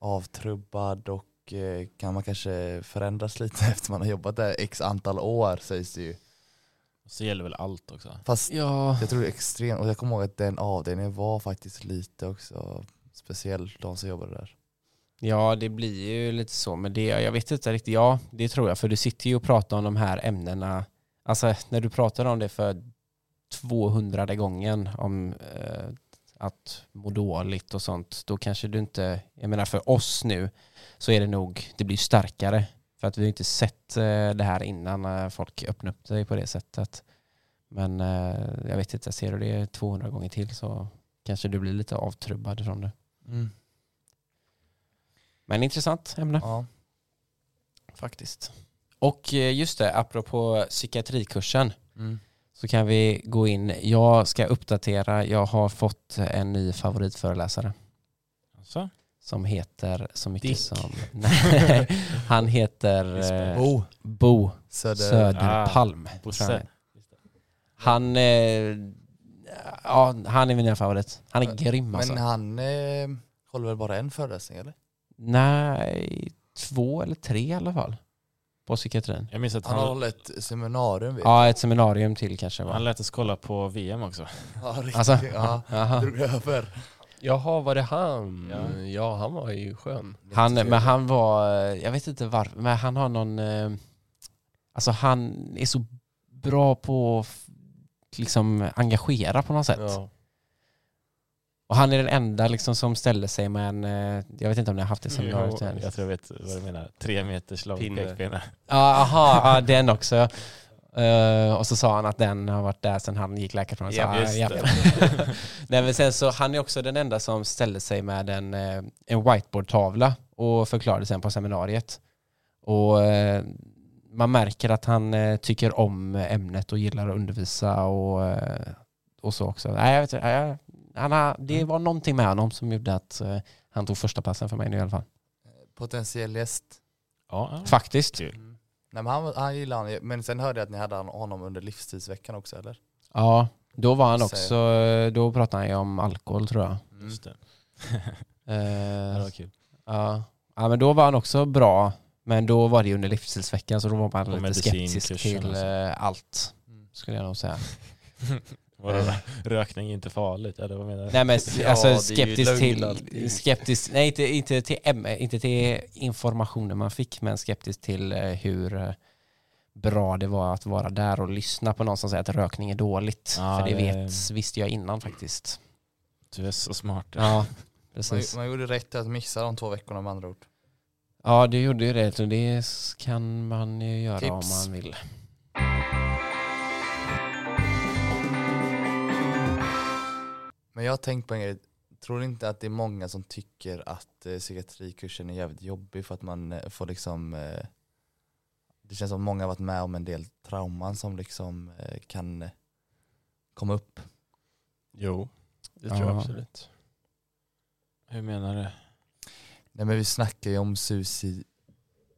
Speaker 4: avtrubbad och eh, kan man kanske förändras lite efter man har jobbat där x antal år sägs det ju.
Speaker 3: Så gäller väl allt också.
Speaker 4: Fast
Speaker 1: Ja.
Speaker 4: jag tror det är extremt, och jag kommer ihåg att den avdelningen var faktiskt lite också speciell, de som jobbade där.
Speaker 1: Ja, det blir ju lite så, men det, jag vet inte riktigt. Ja, det tror jag, för du sitter ju och pratar om de här ämnena. Alltså när du pratar om det för 200 gången om eh, att må dåligt och sånt, då kanske du inte, jag menar för oss nu, så är det nog, det blir starkare. För att vi har inte sett eh, det här innan eh, folk öppnar upp sig på det sättet. Men eh, jag vet inte, ser du det 200 gånger till så kanske du blir lite avtrubbad från det. Men intressant ämne.
Speaker 4: Ja.
Speaker 1: Faktiskt. Och eh, just det, apropå psykiatrikursen
Speaker 4: Mm.
Speaker 1: så kan vi gå in. Jag ska uppdatera, jag har fått en ny favoritföreläsare
Speaker 3: Alltså,
Speaker 1: som heter så mycket
Speaker 3: Dick.
Speaker 1: som... Nej, han heter eh,
Speaker 4: Oh,
Speaker 1: Bo
Speaker 4: Söder.
Speaker 1: Söderpalm.
Speaker 4: ah,
Speaker 3: Bosse.
Speaker 1: tror jag. Han, eh, ja, han är min favorit. Han är grym alltså.
Speaker 4: Men han eh, håller väl bara en föreläsning eller?
Speaker 1: Nej, två eller tre i alla fall på psykiatrin.
Speaker 3: Jag minns att
Speaker 4: Han har
Speaker 3: han,
Speaker 4: hållit ett seminarium vet jag.
Speaker 1: Ja, ett seminarium till kanske.
Speaker 3: han
Speaker 1: Va?
Speaker 3: lät oss kolla på VM också.
Speaker 4: Ja, riktigt.
Speaker 1: Alltså,
Speaker 4: ja.
Speaker 1: Aha.
Speaker 4: Drog det över.
Speaker 2: Jaha, var det han?
Speaker 3: Ja.
Speaker 2: Ja, ja han var ju skön.
Speaker 1: Han, men han var, jag vet inte varför, men han har någon, eh, alltså han är så bra på att f- liksom engagera på något sätt.
Speaker 2: Ja.
Speaker 1: Och han är den enda liksom som ställer sig med en, eh, jag vet inte om ni har haft det seminariet än.
Speaker 3: Mm, Jag tror jag vet vad du menar. Tre meters lång
Speaker 2: Pinne.
Speaker 3: pekpinne.
Speaker 1: Ja, Aha, ja, den också. Eh, och så sa han att den har varit där sedan han gick läkarprogrammet. Så,
Speaker 3: Ja,
Speaker 1: ah,
Speaker 3: just
Speaker 1: ja.
Speaker 3: det.
Speaker 1: Nej men sen så, han är också den enda som ställde sig med en, eh, en whiteboardtavla och förklarade sen på seminariet. Och eh, man märker att han eh, tycker om ämnet och gillar att undervisa och, eh, och så också. Nej, jag vet inte, nej, han har,
Speaker 3: Mm.
Speaker 1: det var någonting med honom som gjorde att eh, han tog första passen för mig nu i alla fall.
Speaker 4: Potentiell gäst.
Speaker 3: Ja, ja.
Speaker 1: Faktiskt.
Speaker 3: Kul.
Speaker 4: Mm. Nej, men han, han gillar han ju. Men sen hörde jag att ni hade han- honom under livstidsveckan också eller?
Speaker 1: Ja, då var han
Speaker 4: Säg.
Speaker 1: också, då pratade han ju om alkohol tror jag.
Speaker 3: Just det. Ja,
Speaker 1: Eh,
Speaker 3: det var kul.
Speaker 1: Ja. ja, men då var han också bra. Men då var det ju under livsstilsveckan så då var
Speaker 3: Och
Speaker 1: man lite skeptisk
Speaker 3: medicinkursen
Speaker 1: till
Speaker 3: alltså.
Speaker 1: eh, allt.
Speaker 4: Mm.
Speaker 1: Skulle jag nog säga.
Speaker 3: Vadå, rökning är inte farligt? Eller vad menar du?
Speaker 1: Nej men
Speaker 2: Ja, det är
Speaker 1: alltså
Speaker 2: ju
Speaker 1: skeptisk
Speaker 2: lugnt
Speaker 1: till,
Speaker 2: alltid.
Speaker 1: skeptisk, nej inte, inte, till, äm- inte till informationen man fick men skeptisk till eh, hur eh, bra det var att vara där och lyssna på någon som säger att rökning är dåligt.
Speaker 3: Ja,
Speaker 1: För det,
Speaker 3: det-
Speaker 1: vet, visste jag innan faktiskt.
Speaker 3: Du är så smart.
Speaker 1: Ja,
Speaker 4: Man,
Speaker 1: precis.
Speaker 4: man gjorde rätt att missa de två veckorna med andra ord.
Speaker 1: Ja, du gjorde ju det. Så det kan man ju göra om
Speaker 4: Tips.
Speaker 1: man vill.
Speaker 4: Men jag har tänkt på en grej. Tror ni inte att det är många som tycker att eh, psykiatrikursen är jävligt jobbig för att man eh, får liksom eh, Det känns som många har varit med om en del trauman som liksom eh, kan eh, komma upp.
Speaker 2: Jo, det tror jag
Speaker 1: Ja.
Speaker 2: absolut.
Speaker 3: Hur menar du?
Speaker 4: Nej men vi snackar ju om suicid,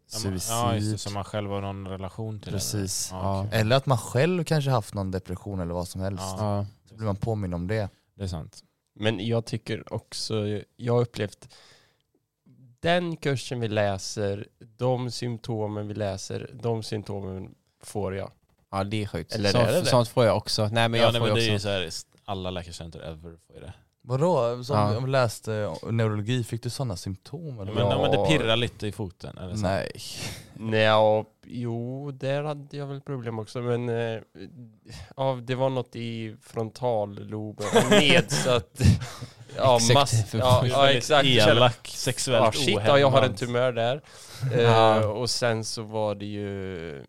Speaker 4: Suicid.
Speaker 3: Ja, just det, som man själv har någon relation till.
Speaker 4: Precis.
Speaker 3: eller? Ja,
Speaker 1: Ja.
Speaker 3: okej.
Speaker 4: Eller att man själv kanske haft någon depression eller vad som helst.
Speaker 3: Ja.
Speaker 1: Ja.
Speaker 4: Så blir man påmind om det.
Speaker 3: Det är sant.
Speaker 2: Men jag tycker också, jag har upplevt den kursen vi läser, de symptomen vi läser, de symptomen får jag.
Speaker 1: ja, det är sjukt.
Speaker 2: Eller
Speaker 1: sånt,
Speaker 2: är det det?
Speaker 1: sånt får jag också. Nej men
Speaker 3: ja,
Speaker 1: jag
Speaker 3: nej,
Speaker 1: får
Speaker 3: men det är
Speaker 1: ju
Speaker 3: ju
Speaker 1: också.
Speaker 3: så här, alla läkarcenter ever får ju det.
Speaker 4: Vadå? Som
Speaker 1: Ja.
Speaker 4: om du läste eh, neurologi, fick du sådana symptom? Eller
Speaker 3: Men,
Speaker 4: vad?
Speaker 3: ja. men det pirrar lite i foten. Eller så.
Speaker 4: Nej.
Speaker 2: Nja, jo, där hade jag väl problem också, men eh, ja, det var något i frontalloben, nedsatt. Ja, mass,
Speaker 1: Exekutiv
Speaker 2: ja,
Speaker 1: funktion.
Speaker 2: ja exakt. Jag kände-
Speaker 3: Elak, sexuellt
Speaker 2: Ja, Ah, shit, ja,
Speaker 3: ohämmad.
Speaker 2: jag har en tumör där. Eh,
Speaker 1: Ja.
Speaker 2: Och sen så var det ju...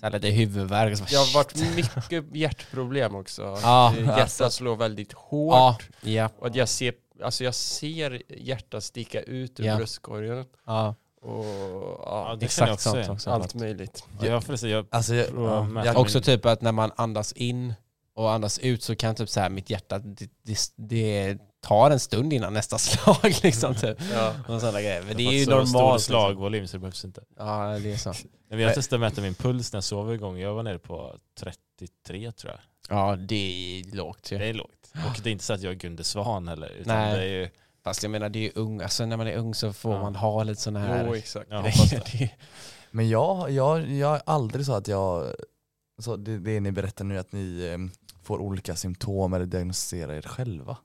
Speaker 1: Så här lite huvudvärk. och så bara,
Speaker 2: Jag har varit
Speaker 1: shit.
Speaker 2: mycket hjärtproblem också.
Speaker 1: Ja,
Speaker 2: Eh, Hjärtat
Speaker 1: alltså.
Speaker 2: slår väldigt hårt.
Speaker 1: Ja, ja,
Speaker 2: Och att jag ser, alltså jag ser hjärtat sticka ut ur
Speaker 1: Ja.
Speaker 2: bröstkorgen.
Speaker 1: ja.
Speaker 2: Och
Speaker 3: Ja,
Speaker 2: ja,
Speaker 3: det kan jag
Speaker 1: Exakt
Speaker 3: också
Speaker 1: sånt
Speaker 3: se.
Speaker 1: också.
Speaker 2: allt möjligt.
Speaker 3: Ja, jag, får säga, jag
Speaker 4: Alltså, jag,
Speaker 3: provar
Speaker 4: ja.
Speaker 3: att mäta
Speaker 4: jag,
Speaker 3: min-
Speaker 1: Också typ att när man andas in och andas ut så kan typ så här mitt hjärta, det, det, det tar en stund innan nästa slag liksom typ.
Speaker 2: Ja.
Speaker 1: Och sådana grejer. Men
Speaker 3: jag
Speaker 1: det
Speaker 3: har
Speaker 1: är ju
Speaker 3: fått så stor
Speaker 1: normalt. liksom.
Speaker 3: slagvolym så det behövs inte.
Speaker 1: Ja, det är så.
Speaker 3: Jag vet att jag mätte min puls när jag sov igång. Jag var nere på 33 tror jag.
Speaker 1: Ja, det är lågt
Speaker 3: Det
Speaker 1: ju.
Speaker 3: är lågt. Och det är inte så att jag är Gunde Svan heller. Utan
Speaker 1: Nej.
Speaker 3: Det är ju,
Speaker 1: Fast jag menar, det är ju ung. Alltså när man är ung så får
Speaker 3: Ja.
Speaker 1: man ha lite sådana här
Speaker 2: Jo, exakt.
Speaker 3: jag hoppas
Speaker 1: grejer.
Speaker 3: det.
Speaker 1: Det är-
Speaker 4: men jag, jag, jag har aldrig så att jag, så det, det ni berättar nu att ni eh, får olika symptom eller diagnostiserar er själva.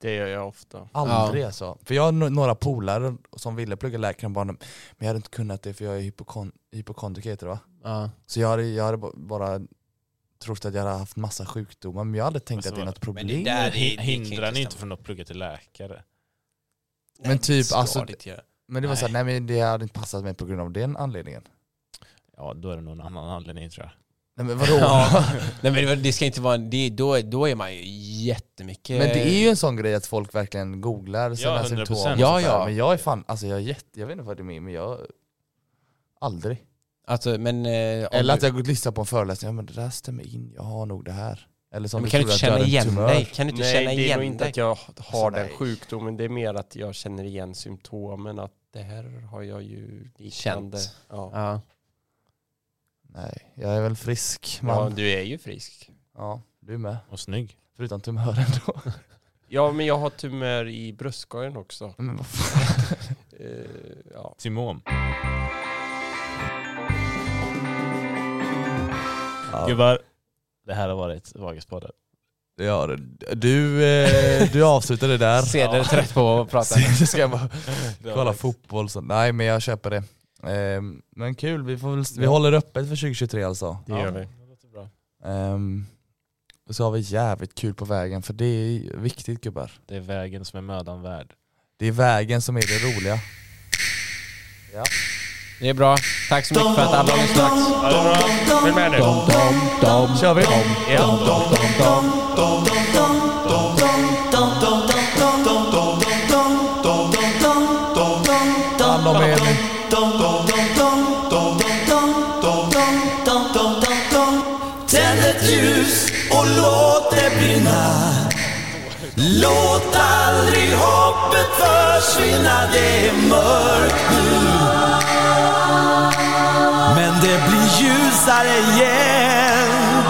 Speaker 2: Det gör jag ofta.
Speaker 4: Aldrig alltså. För jag har no- några polare som ville plugga läkaren bara, men jag hade inte kunnat det för jag är hypokon- hypokondriker heter det va?
Speaker 1: Ja.
Speaker 4: Så jag hade, jag hade ba- bara trott att jag hade haft massa sjukdomar men jag hade tänkt
Speaker 3: Men
Speaker 4: att det är
Speaker 3: så-
Speaker 4: något
Speaker 1: men det
Speaker 4: problem. Men,
Speaker 1: där- det- det kan ju
Speaker 3: hindrar ni
Speaker 1: inte
Speaker 3: inte
Speaker 1: stämma.
Speaker 3: från att plugga till läkare?
Speaker 4: Men
Speaker 1: Nej,
Speaker 4: typ,
Speaker 1: ska
Speaker 4: alltså-
Speaker 1: det göra.
Speaker 4: det var såhär, nej men det hade inte passat mig på grund av den anledningen.
Speaker 3: Ja, då är det nog en annan anledning tror jag.
Speaker 4: Nej men vadå?
Speaker 1: Ja. Nej men det- det ska inte vara, det, då, då är man ju jättemycket...
Speaker 4: Men det är ju en sån grej att folk verkligen googlar
Speaker 3: 100%.
Speaker 4: sina symptom. och sånt
Speaker 1: Ja,
Speaker 4: där.
Speaker 1: ja.
Speaker 4: Men jag är fan, alltså jag är jätte, jag vet inte vad det är med men jag, aldrig.
Speaker 1: Alltså, men, eh, om
Speaker 4: Eller
Speaker 1: du-
Speaker 4: att jag har gått och lyssnat på en föreläsning, ja men det där stämmer in, jag har nog det här. Eller som
Speaker 1: men
Speaker 4: du
Speaker 1: kan du
Speaker 4: trodde
Speaker 1: inte
Speaker 4: att jag
Speaker 1: känna
Speaker 4: hade en
Speaker 1: igen
Speaker 4: tumör.
Speaker 1: dig? Kan du inte
Speaker 2: Nej,
Speaker 1: känna
Speaker 2: det är nog
Speaker 1: igen
Speaker 2: inte
Speaker 1: dig? Alltså,
Speaker 2: att jag har den
Speaker 4: nej.
Speaker 2: sjukdomen. Det är mer att jag känner igen symptomen. Att det här har jag ju liknande.
Speaker 1: Känt.
Speaker 2: Ja.
Speaker 1: Ja.
Speaker 4: Nej, jag är väl frisk
Speaker 2: ja,
Speaker 4: man.
Speaker 2: du är ju frisk.
Speaker 4: Ja, du med.
Speaker 3: Och snygg.
Speaker 4: Förutom tumören då.
Speaker 2: Ja, men jag har tumör i bröstkorgen också.
Speaker 4: Men vad fan.
Speaker 2: Eh, ja.
Speaker 3: Timon.
Speaker 4: Ja,
Speaker 3: Gubbar, det här har varit Vagispodden.
Speaker 4: ja, du, eh, du avslutar det där.
Speaker 1: Ceder är trött på att prata.
Speaker 4: Så ska jag bara kolla fotboll. Så. Nej men jag köper det. Ehm, men kul, vi, får väl, vi håller öppet för 2023 alltså.
Speaker 2: Det gör vi.
Speaker 3: Det låter bra.
Speaker 4: Ehm, och så har vi jävligt kul på vägen för det är viktigt gubbar.
Speaker 3: Det är vägen som är mödan värd.
Speaker 4: Det är vägen som är det roliga.
Speaker 1: Det är bra. Tack så mycket för att alla har lyssnat.
Speaker 2: Ha det bra. Följ med nu.
Speaker 4: Kör vi!
Speaker 2: Ja.
Speaker 4: Ta hand om er nu.
Speaker 5: Tänd ett ljus och låt det brinna Låt aldrig hoppet försvinna Det är mörkt nu Men det blir ljusare igen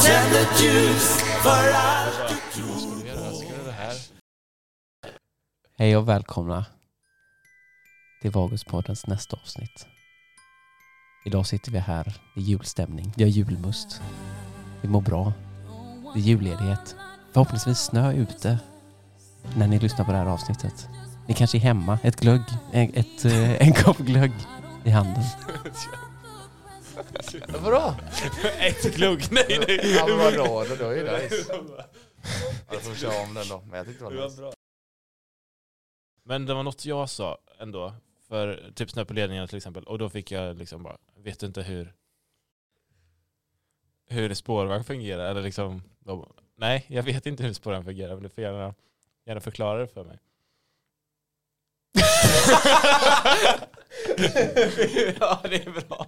Speaker 5: Tänd ett ljus för allt
Speaker 1: Hej och välkomna till Vaguspoddens nästa avsnitt. Idag sitter vi här. Det är julstämning. Vi har julmust. Vi mår bra. Det är julledighet. Förhoppningsvis snö ute när ni lyssnar på det här avsnittet. Ni kanske är hemma. Ett glögg. En, ett, eh, en kopp glögg i handen.
Speaker 4: Vadå?
Speaker 3: Ett glugg, nej
Speaker 4: Ja men vadå, det var ju nice. Jag får köra om den då, men jag tyckte det var nice.
Speaker 3: Men det var något jag sa ändå, för typ snö på ledningarna till exempel, och då fick jag liksom bara, vet du inte hur hur spårvagn fungerar? Eller liksom, de, nej, jag vet inte hur spårvagn fungerar, men du får gärna, gärna förklara det för mig.
Speaker 1: ja, det är bra.